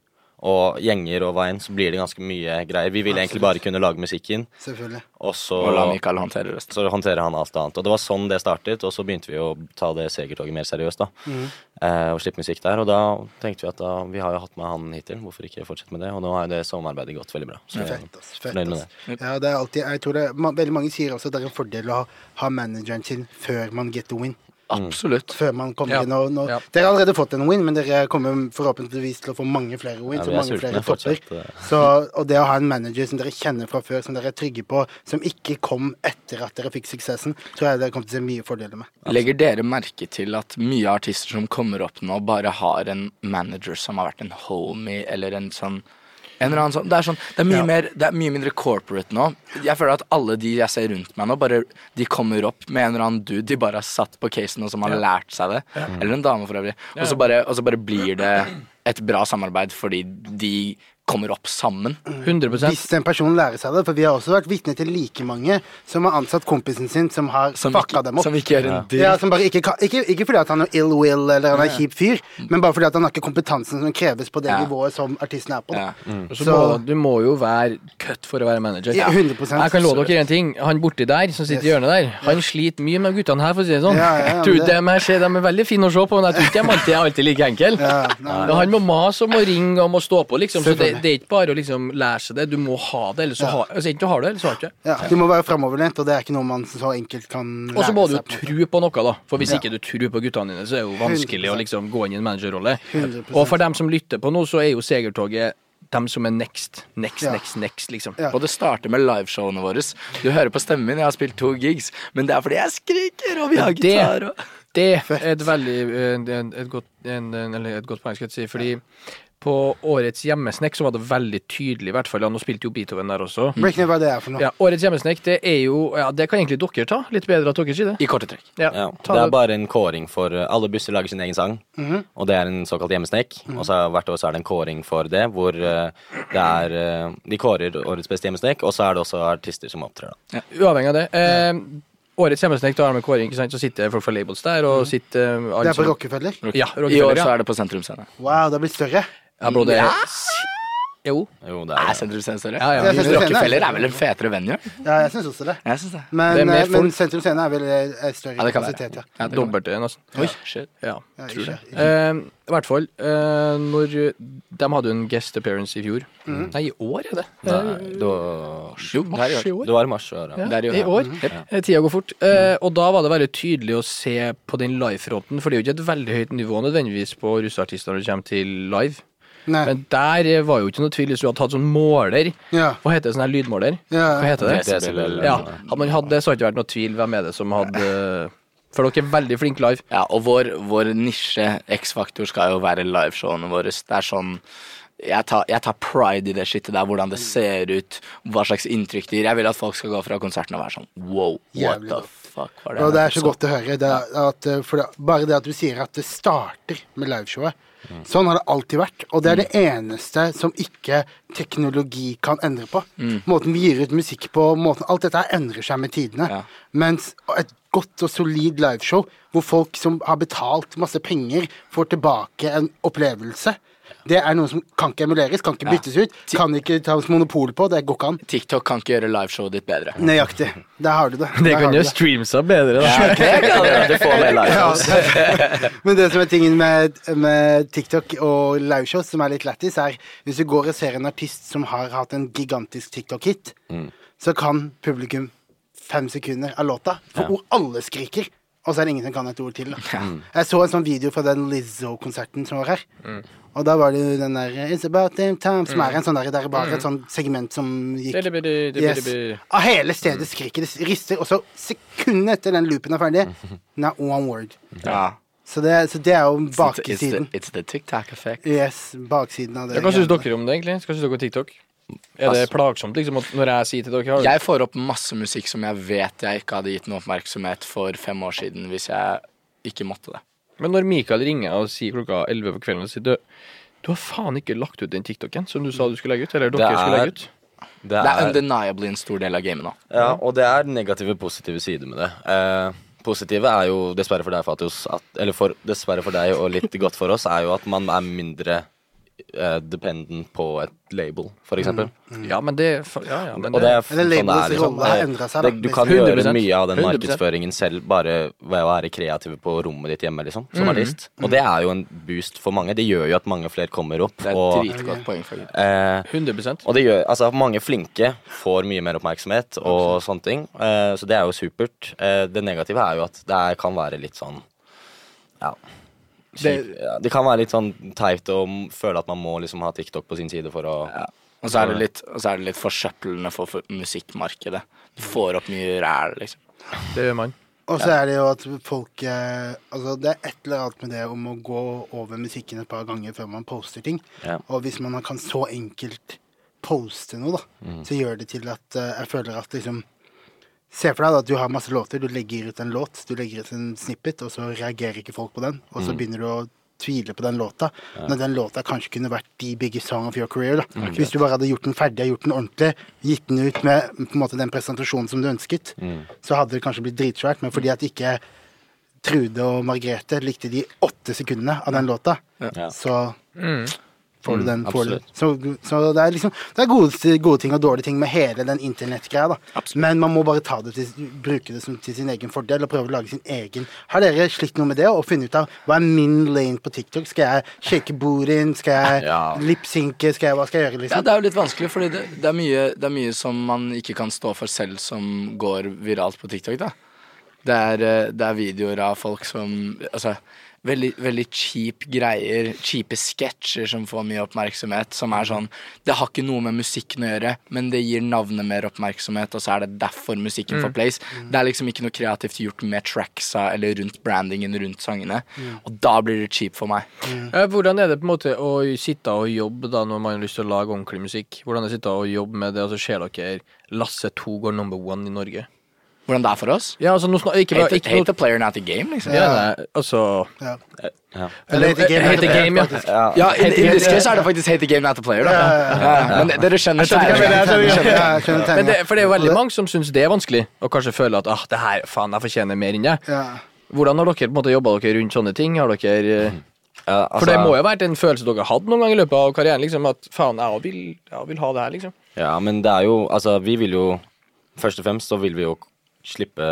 Speaker 2: og gjenger og veien, så blir det ganske mye greier. Vi ville egentlig bare kunne lage musikken,
Speaker 4: Selvfølgelig.
Speaker 2: og så
Speaker 3: Og la Michael håndtere resten.
Speaker 2: så håndterer han alt annet. Og det var sånn det startet, og så begynte vi å ta det segertoget mer seriøst, da.
Speaker 3: Mm.
Speaker 2: Eh, og slippe musikk der. Og da tenkte vi at da, vi har jo hatt med han hittil, hvorfor ikke fortsette med det? Og nå har jo det samarbeidet gått veldig bra. Så jeg
Speaker 4: Fett, ass. Fett,
Speaker 2: fornøyd med
Speaker 4: ass. Ja, det er alltid, jeg tror det, ma, veldig mange sier også at det er en fordel å ha, ha manageren sin før man get the win.
Speaker 3: Absolutt.
Speaker 4: Før man kommer
Speaker 1: Ja.
Speaker 4: inn og, nå-
Speaker 1: Ja.
Speaker 4: Dere har allerede fått en win, men dere kommer forhåpentligvis til å få mange flere
Speaker 2: Ja,
Speaker 4: wins
Speaker 2: vi
Speaker 4: og
Speaker 2: er
Speaker 4: mange flere
Speaker 2: sultne
Speaker 4: topper.
Speaker 2: fortsatt, eh.
Speaker 4: Så, og det å ha en manager som dere kjenner fra før, som dere er trygge på, som ikke kom etter at dere fikk suksessen, tror jeg dere kommer til å se mye fordeler med.
Speaker 3: Legger dere merke til at mye artister som kommer opp nå, bare har en manager som har vært en homie, eller en sånn en eller annen sånn, det, er sånn, det, er mye mer, det er mye mindre corporate nå. Jeg føler at alle de jeg ser rundt meg nå, bare, de kommer opp med en eller annen dude de bare har satt på casen, og som har lært seg det. Eller en dame, for øvrig. Og så bare, og så bare blir det et bra samarbeid fordi de kommer opp sammen.
Speaker 1: 100
Speaker 4: Hvis en person lærer seg det, for vi har også vært vitne til like mange som har ansatt kompisen sin som har
Speaker 3: Som
Speaker 4: fucka
Speaker 3: ikke,
Speaker 4: dem opp.
Speaker 3: som ikke gjør en dritt.
Speaker 4: Ja, som bare ikke, kan, ikke, ikke fordi at han er ill will eller han er en kjip fyr, men bare fordi at han har ikke kompetansen som kreves på det
Speaker 3: Ja.
Speaker 4: nivået som artisten er på. da.
Speaker 3: Ja.
Speaker 1: Og Så
Speaker 4: Så-
Speaker 1: må, du må jo være cut for å være manager.
Speaker 4: Ja, 100%.
Speaker 1: Jeg kan love dere en ting. Han borti der, som sitter i hjørnet der, han sliter mye med guttene her, for å si det sånn.
Speaker 4: Ja, ja, ja, men
Speaker 1: Tror
Speaker 4: det-
Speaker 1: dem her ser, De er veldig fine å se på, men jeg tror ikke de alltid er alltid like enkel.
Speaker 4: Ja, nei,
Speaker 1: Men han må mase og må ringe og må stå på, liksom. Så det,
Speaker 4: Selvfølgelig.
Speaker 1: det er ikke bare å liksom lære seg det. Du må ha det, eller så har altså, enten du har det, eller så har du ikke.
Speaker 4: Ja, du må være framoverlent, og det er ikke noe man så enkelt kan lære
Speaker 1: Og så må du jo
Speaker 4: seg. på en måte.
Speaker 1: tro på noe, da. For hvis
Speaker 4: Ja.
Speaker 1: ikke du tror på guttene dine, så er det jo vanskelig å
Speaker 4: 100%.
Speaker 1: liksom gå inn i en managerrolle.
Speaker 4: 100%.
Speaker 1: Og for dem som lytter på nå, så er jo segertoget dem som er next. Next,
Speaker 4: Ja.
Speaker 1: next, next, liksom.
Speaker 4: Ja.
Speaker 3: Og det starter med liveshowene våre. Du hører på stemmen min, jeg har spilt to gigs, men det er fordi jeg skriker, og vi har
Speaker 1: Det-
Speaker 3: gitar og
Speaker 1: Det er et veldig eh, en- et godt, en, en, eller et godt poeng, skal jeg si. Fordi på årets hjemmesnekk så var det veldig tydelig, i hvert fall. Ja, nå spilte jo Beethoven der også.
Speaker 4: Break ned hva det er for noe.
Speaker 1: Ja, årets hjemmesnekk, det er jo Ja, det kan egentlig dere ta. Litt bedre at dere sier det.
Speaker 3: I korte trekk.
Speaker 1: Ja,
Speaker 2: Ja,
Speaker 1: ta
Speaker 2: det er
Speaker 1: det. Mhm.
Speaker 2: bare en kåring for eh, Alle busser lager sin egen sang, og det er en såkalt hjemmesnekk. Og så er- hvert år så er det en kåring for det, hvor eh, det er eh, De kårer årets beste hjemmesnekk, og så er det også artister som opptrer, da.
Speaker 1: Uavhengig av det. Eh, årets hjemmesnekk, da er det med kåring, ikke sant. Så sitter folk fra labels der,
Speaker 3: Mm.
Speaker 1: og sitter eh,
Speaker 4: Det
Speaker 1: alle
Speaker 4: er på
Speaker 3: liksom.
Speaker 1: som-
Speaker 4: Rockefeller.
Speaker 1: Ja,
Speaker 3: I år
Speaker 1: Rockefeller.
Speaker 3: så
Speaker 1: Ja.
Speaker 3: er det på Sentrumsscenen.
Speaker 4: Wow, det har blitt større.
Speaker 1: Ja, bro, det er Jo.
Speaker 2: Jo, det
Speaker 3: Er
Speaker 2: er det.
Speaker 3: Sentrum Scene større?
Speaker 1: Ja, ja.
Speaker 4: Jeg synes det er
Speaker 3: Rockefeller
Speaker 4: senere.
Speaker 3: er vel en fetere venue?
Speaker 4: Ja, jeg syns også det.
Speaker 3: Jeg syns det.
Speaker 4: Men,
Speaker 1: Det er mer
Speaker 4: eh, men
Speaker 1: folk.
Speaker 4: Sentrum Scene er vel eh, større
Speaker 3: Ja, det kan
Speaker 4: kapasitet, ja.
Speaker 3: være. Ja, det kan være.
Speaker 1: Dobbelt det, nesten.
Speaker 3: Oi, shit.
Speaker 1: Ja.
Speaker 4: ja
Speaker 3: Tror
Speaker 4: ikke-
Speaker 1: Eh, I hvert fall, eh, når De hadde jo en guest appearance i fjor.
Speaker 4: Mhm.
Speaker 1: Nei, i år er det.
Speaker 2: Nei, det
Speaker 3: Jo,
Speaker 2: var
Speaker 3: der,
Speaker 1: Mars i år.
Speaker 2: Det var i mars i år,
Speaker 1: Ja,
Speaker 2: ja.
Speaker 3: Der i år,
Speaker 1: I
Speaker 3: ja.
Speaker 1: år.
Speaker 3: Mhm.
Speaker 1: Eh, Tida går fort. Eh, og da var det veldig tydelig å se på den livefronten, for det er jo ikke et veldig høyt nivå nødvendigvis på russeartister når det kommer til live.
Speaker 4: Nei.
Speaker 1: Men der eh, var jo ikke noe tvil hvis du hadde tatt sånn måler.
Speaker 4: Ja.
Speaker 1: Hva heter det, sånn her lydmåler?
Speaker 4: Ja.
Speaker 1: Hva heter det?
Speaker 2: Desibel.
Speaker 1: Ja, Hadde man hatt det, så hadde det ikke vært noe tvil hvem er det som hadde eh, For dere er veldig flinke live.
Speaker 3: Ja, og vår, vår nisje, X-Faktor, skal jo være liveshowene våre. Det er sånn jeg tar, jeg tar pride i det shitet der, hvordan det ser ut, hva slags inntrykk det gir. Jeg vil at folk skal gå fra konserten og være sånn wow, what
Speaker 4: Jævlig
Speaker 3: the
Speaker 4: godt.
Speaker 3: fuck var det?
Speaker 4: Og det er
Speaker 3: jeg
Speaker 4: så
Speaker 3: så?»
Speaker 4: godt å høre. Det er at, eh, for det, bare det at du sier at det starter med liveshowet. Sånn har det alltid vært, og det er det eneste som ikke teknologi kan endre på. Måten vi gir ut musikk på, måten, alt dette her endrer seg med tidene.
Speaker 3: Ja.
Speaker 4: Mens et godt og solid liveshow, hvor folk som har betalt masse penger, får tilbake en opplevelse, det er noe som kan ikke emuleres, kan ikke
Speaker 3: Ja.
Speaker 4: byttes ut, kan ikke tas monopol på, det går ikke an.
Speaker 3: TikTok kan ikke gjøre liveshowet ditt bedre.
Speaker 4: Nøyaktig. Der har du det. Der har du det.
Speaker 1: streamsa bedre,
Speaker 3: Ja, det kan det. Du får mer liveshows.
Speaker 4: Men det som er tingen med, med TikTok og liveshows som er litt lættis, er hvis du går og ser en artist som har hatt en gigantisk TikTok-hit, så kan publikum fem sekunder av låta, for hvor alle skriker. Og så er det ingen som kan et ord til. Da. Jeg så en sånn video fra den Lizzo-konserten som var her. Og da var det jo den der It's about damn time, som er en sånn der, det er bare et sånn segment som gikk Yes. Av hele stedet skriker det, rister, og så sekundet etter den loopen er ferdig, not one word.
Speaker 3: Ja.
Speaker 4: Så det, så det er jo
Speaker 3: It's, it's, the,
Speaker 4: baksiden.
Speaker 3: it's the TikTok effect.
Speaker 4: Yes, baksiden av det.
Speaker 1: Hva syns
Speaker 4: greiene.
Speaker 1: dere om det, egentlig? Hva syns dere om TikTok? Er det plagsomt, liksom, at når jeg sier til dere har
Speaker 3: Jeg får opp masse musikk som jeg vet jeg ikke hadde gitt noe oppmerksomhet for fem år siden hvis jeg ikke måtte det.
Speaker 1: Men når Mikael ringer og sier klokka 11 på kvelden og sier du, du har faen ikke lagt ut den TikToken som du sa du skulle legge ut, eller dere
Speaker 2: Det er-
Speaker 1: skulle legge ut.
Speaker 3: Det er undeniably en stor del av gamet nå.
Speaker 2: Ja, og det er negative positive sider med det. Eh, positive er jo, dessverre for deg, Fatios, at, eller for, dessverre for deg og litt godt for oss, er jo at man er mindre eh, dependent på et label, for eksempel.
Speaker 3: Mm.
Speaker 1: Ja, men det Ja, ja, men
Speaker 2: Og det er f-
Speaker 4: Eller labels rolle har
Speaker 2: Det-
Speaker 4: endret seg, da,
Speaker 2: det, du kan
Speaker 1: liksom.
Speaker 2: gjøre mye av den
Speaker 1: 100%.
Speaker 2: markedsføringen selv bare ved å være kreativ på rommet ditt hjemme, liksom,
Speaker 3: Mm.
Speaker 2: som artist. Og det er jo en boost for mange. Det gjør jo at mange flere kommer opp.
Speaker 3: Det er et
Speaker 2: og,
Speaker 3: dritgodt poeng. for Gud.
Speaker 2: eh,
Speaker 1: 100
Speaker 2: og det gjør, altså Mange flinke får mye mer oppmerksomhet, og sånne ting, eh, så det er jo supert. Eh, det negative er jo at det er, kan være litt sånn Ja.
Speaker 1: Det-
Speaker 2: kjip- ja. Det kan være litt sånn teit å m- føle at man må liksom ha TikTok på sin side for å
Speaker 3: Og så er det litt, og så er det litt forsøplende for, for musikkmarkedet. Du får opp mye ræl, liksom.
Speaker 1: Det gjør man.
Speaker 4: Og så er det jo at folk eh, Altså, det er et eller annet med det om å gå over musikken et par ganger før man poster ting.
Speaker 2: Ja.
Speaker 4: Og hvis man kan så enkelt poste noe, da,
Speaker 2: Mm.
Speaker 4: så gjør det til at eh, jeg føler at liksom Se for deg da, at du har masse låter. Du legger ut en låt, du legger ut en snippet, og så reagerer ikke folk på den. Og
Speaker 2: Mm.
Speaker 4: så begynner du å tvile på den låta, når den låta kanskje kunne vært the biggest song of your career. da. Hvis du bare hadde gjort den ferdig, gjort den ordentlig, gitt den ut med på en måte den presentasjonen som du ønsket,
Speaker 2: Mm.
Speaker 4: så hadde det kanskje blitt dritsvært. Men fordi at ikke Trude og Margrethe likte de åtte sekundene av den låta,
Speaker 2: Ja.
Speaker 4: så
Speaker 1: Mm.
Speaker 4: får du den
Speaker 2: Mm,
Speaker 4: får du.
Speaker 2: absolutt.
Speaker 4: Så, så det er liksom Det er gode, gode ting og dårlige ting med hele den internettgreia, da. Men man må bare ta det til, bruke det som, til sin egen fordel og prøve å lage sin egen Har dere slitt noe med det, og funnet ut av hva er min lane på TikTok? Skal jeg shake booty? Skal jeg
Speaker 2: Ja.
Speaker 4: lipsynke? Skal jeg, hva skal jeg gjøre,
Speaker 3: Ja,
Speaker 4: liksom?
Speaker 3: det er jo litt vanskelig, fordi det, det, er mye, det er mye som man ikke kan stå for selv, som går viralt på TikTok, da. Det er, eh, det er videoer av folk som Altså, veldig, veldig kjip greier, kjipe sketsjer som får mye oppmerksomhet, som er sånn Det har ikke noe med musikken å gjøre, men det gir navnet mer oppmerksomhet, og så er det derfor musikken
Speaker 1: Mm.
Speaker 3: får place. Det er liksom ikke noe kreativt gjort med tracksa eller rundt brandingen rundt sangene,
Speaker 1: Mm.
Speaker 3: og da blir det cheap for meg.
Speaker 1: Eh, Hvordan er det på en måte å sitte og jobbe da når man har lyst til å lage ordentlig musikk? Hvordan er det å sitte og jobbe med det, og så ser dere Lasse 2 går number one i Norge?
Speaker 3: Hvordan det er for oss?
Speaker 1: Ja, altså, nå snak- ikke,
Speaker 3: Hate,
Speaker 1: ikke,
Speaker 3: hate
Speaker 1: ikke,
Speaker 3: the player, not the game, liksom.
Speaker 1: ja, nei, altså
Speaker 4: Ja.
Speaker 2: Ja.
Speaker 4: Eller hate the game,
Speaker 1: Hate the game, ja.
Speaker 4: faktisk.
Speaker 2: ja.
Speaker 3: Ja, in, in this case er det faktisk hate the game, not the player. Da. Ja, Men dere
Speaker 4: Ja,
Speaker 3: skjønner
Speaker 4: jeg
Speaker 3: skjæret.
Speaker 4: skjønner- jeg skjønner
Speaker 1: Men det,
Speaker 4: tegninga.
Speaker 1: for det er veldig mange som syns det er vanskelig, og kanskje føler at ah, det her, faen, jeg fortjener mer enn jeg.
Speaker 4: Ja.
Speaker 1: Hvordan har dere på en måte jobba dere rundt sånne ting? Har dere eh,
Speaker 2: Ja,
Speaker 1: For
Speaker 2: altså,
Speaker 1: det må jo ha vært en følelse dere har hatt noen gang i løpet av karrieren. liksom, At faen, jeg vil, jeg vil ha det her, liksom.
Speaker 2: Ja, men det er jo Altså, vi vil jo Først og fremst så vil vi jo slippe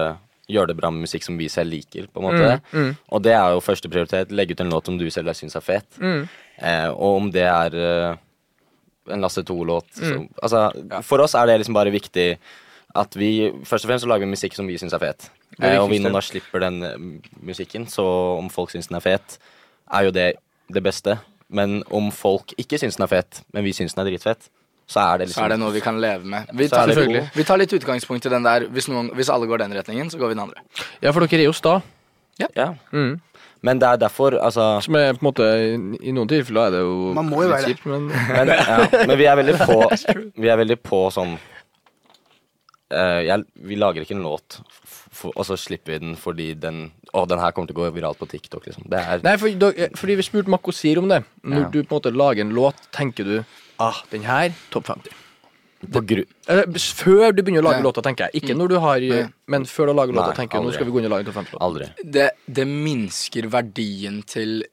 Speaker 2: Gjøre det bra med musikk som vi selv liker, på en måte.
Speaker 1: Mm,
Speaker 2: Og det er jo første prioritet. Legge ut en låt som du selv syns er fet.
Speaker 1: Mm.
Speaker 2: Eh, og om det er eh, en Lasse To-låt
Speaker 1: Mm.
Speaker 2: så- Altså, for oss er det liksom bare viktig at vi Først og fremst så lager vi musikk som vi syns er fet.
Speaker 1: er
Speaker 2: Eh, og vi
Speaker 1: viktigste.
Speaker 2: nå da slipper den eh, musikken, så om folk syns den er fet, er jo det det beste. Men om folk ikke syns den er fet, men vi syns den er dritfett, så er det liksom
Speaker 3: Så er det noe vi kan leve med. Vi
Speaker 2: Så
Speaker 3: tar,
Speaker 2: er det
Speaker 3: selvfølgelig.
Speaker 2: god.
Speaker 3: vi tar litt utgangspunkt i den der. Hvis, noen, hvis alle går den retningen, så går vi den andre.
Speaker 1: Ja, for dere er jo sta.
Speaker 2: Ja. Men det er derfor, altså
Speaker 1: Som er på en måte I noen tilfeller er det jo
Speaker 4: Man må jo være det.
Speaker 1: kjipt, men
Speaker 2: Men, ja, men vi er veldig på Vi er veldig på sånn eh, jeg, Vi lager ikke en låt, f- f- og så slipper vi den fordi den Å, den her kommer til å gå viralt på TikTok, liksom. Det er
Speaker 1: Nei, for, da- fordi vi spurte Makosir om det. Når
Speaker 2: Ja.
Speaker 1: du på en måte lager en låt, tenker du ah, den her, topp 50.
Speaker 2: på gru...
Speaker 1: Eller, s- før du begynner å lage
Speaker 3: Ja.
Speaker 1: låta, tenker jeg. Ikke når du har eh,
Speaker 3: Nei.
Speaker 1: Men før du lager låta,
Speaker 2: Nei,
Speaker 1: tenker du nå
Speaker 2: aldri.
Speaker 1: skal vi gå inn og lage en topp 50-låt.
Speaker 2: Aldri.
Speaker 3: Det, det minsker verdien til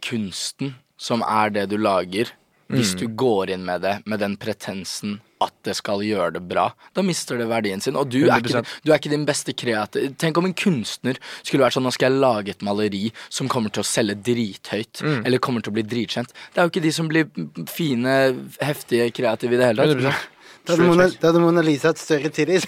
Speaker 3: kunsten, som er det du lager, hvis du går inn med det med den pretensen at det skal gjøre det bra. Da mister det verdien sin. Og du er ikke,
Speaker 1: 100%.
Speaker 3: du er ikke din beste kreativ. Tenk om en kunstner skulle vært sånn Nå skal jeg lage et maleri som kommer til å selge drithøyt, eller kommer til å bli dritkjent. Det er jo ikke de som blir fine, heftige, kreative i det hele tatt.
Speaker 1: 100%.
Speaker 4: Da hadde Mona, da hadde Mona Lisa hatt større tittis.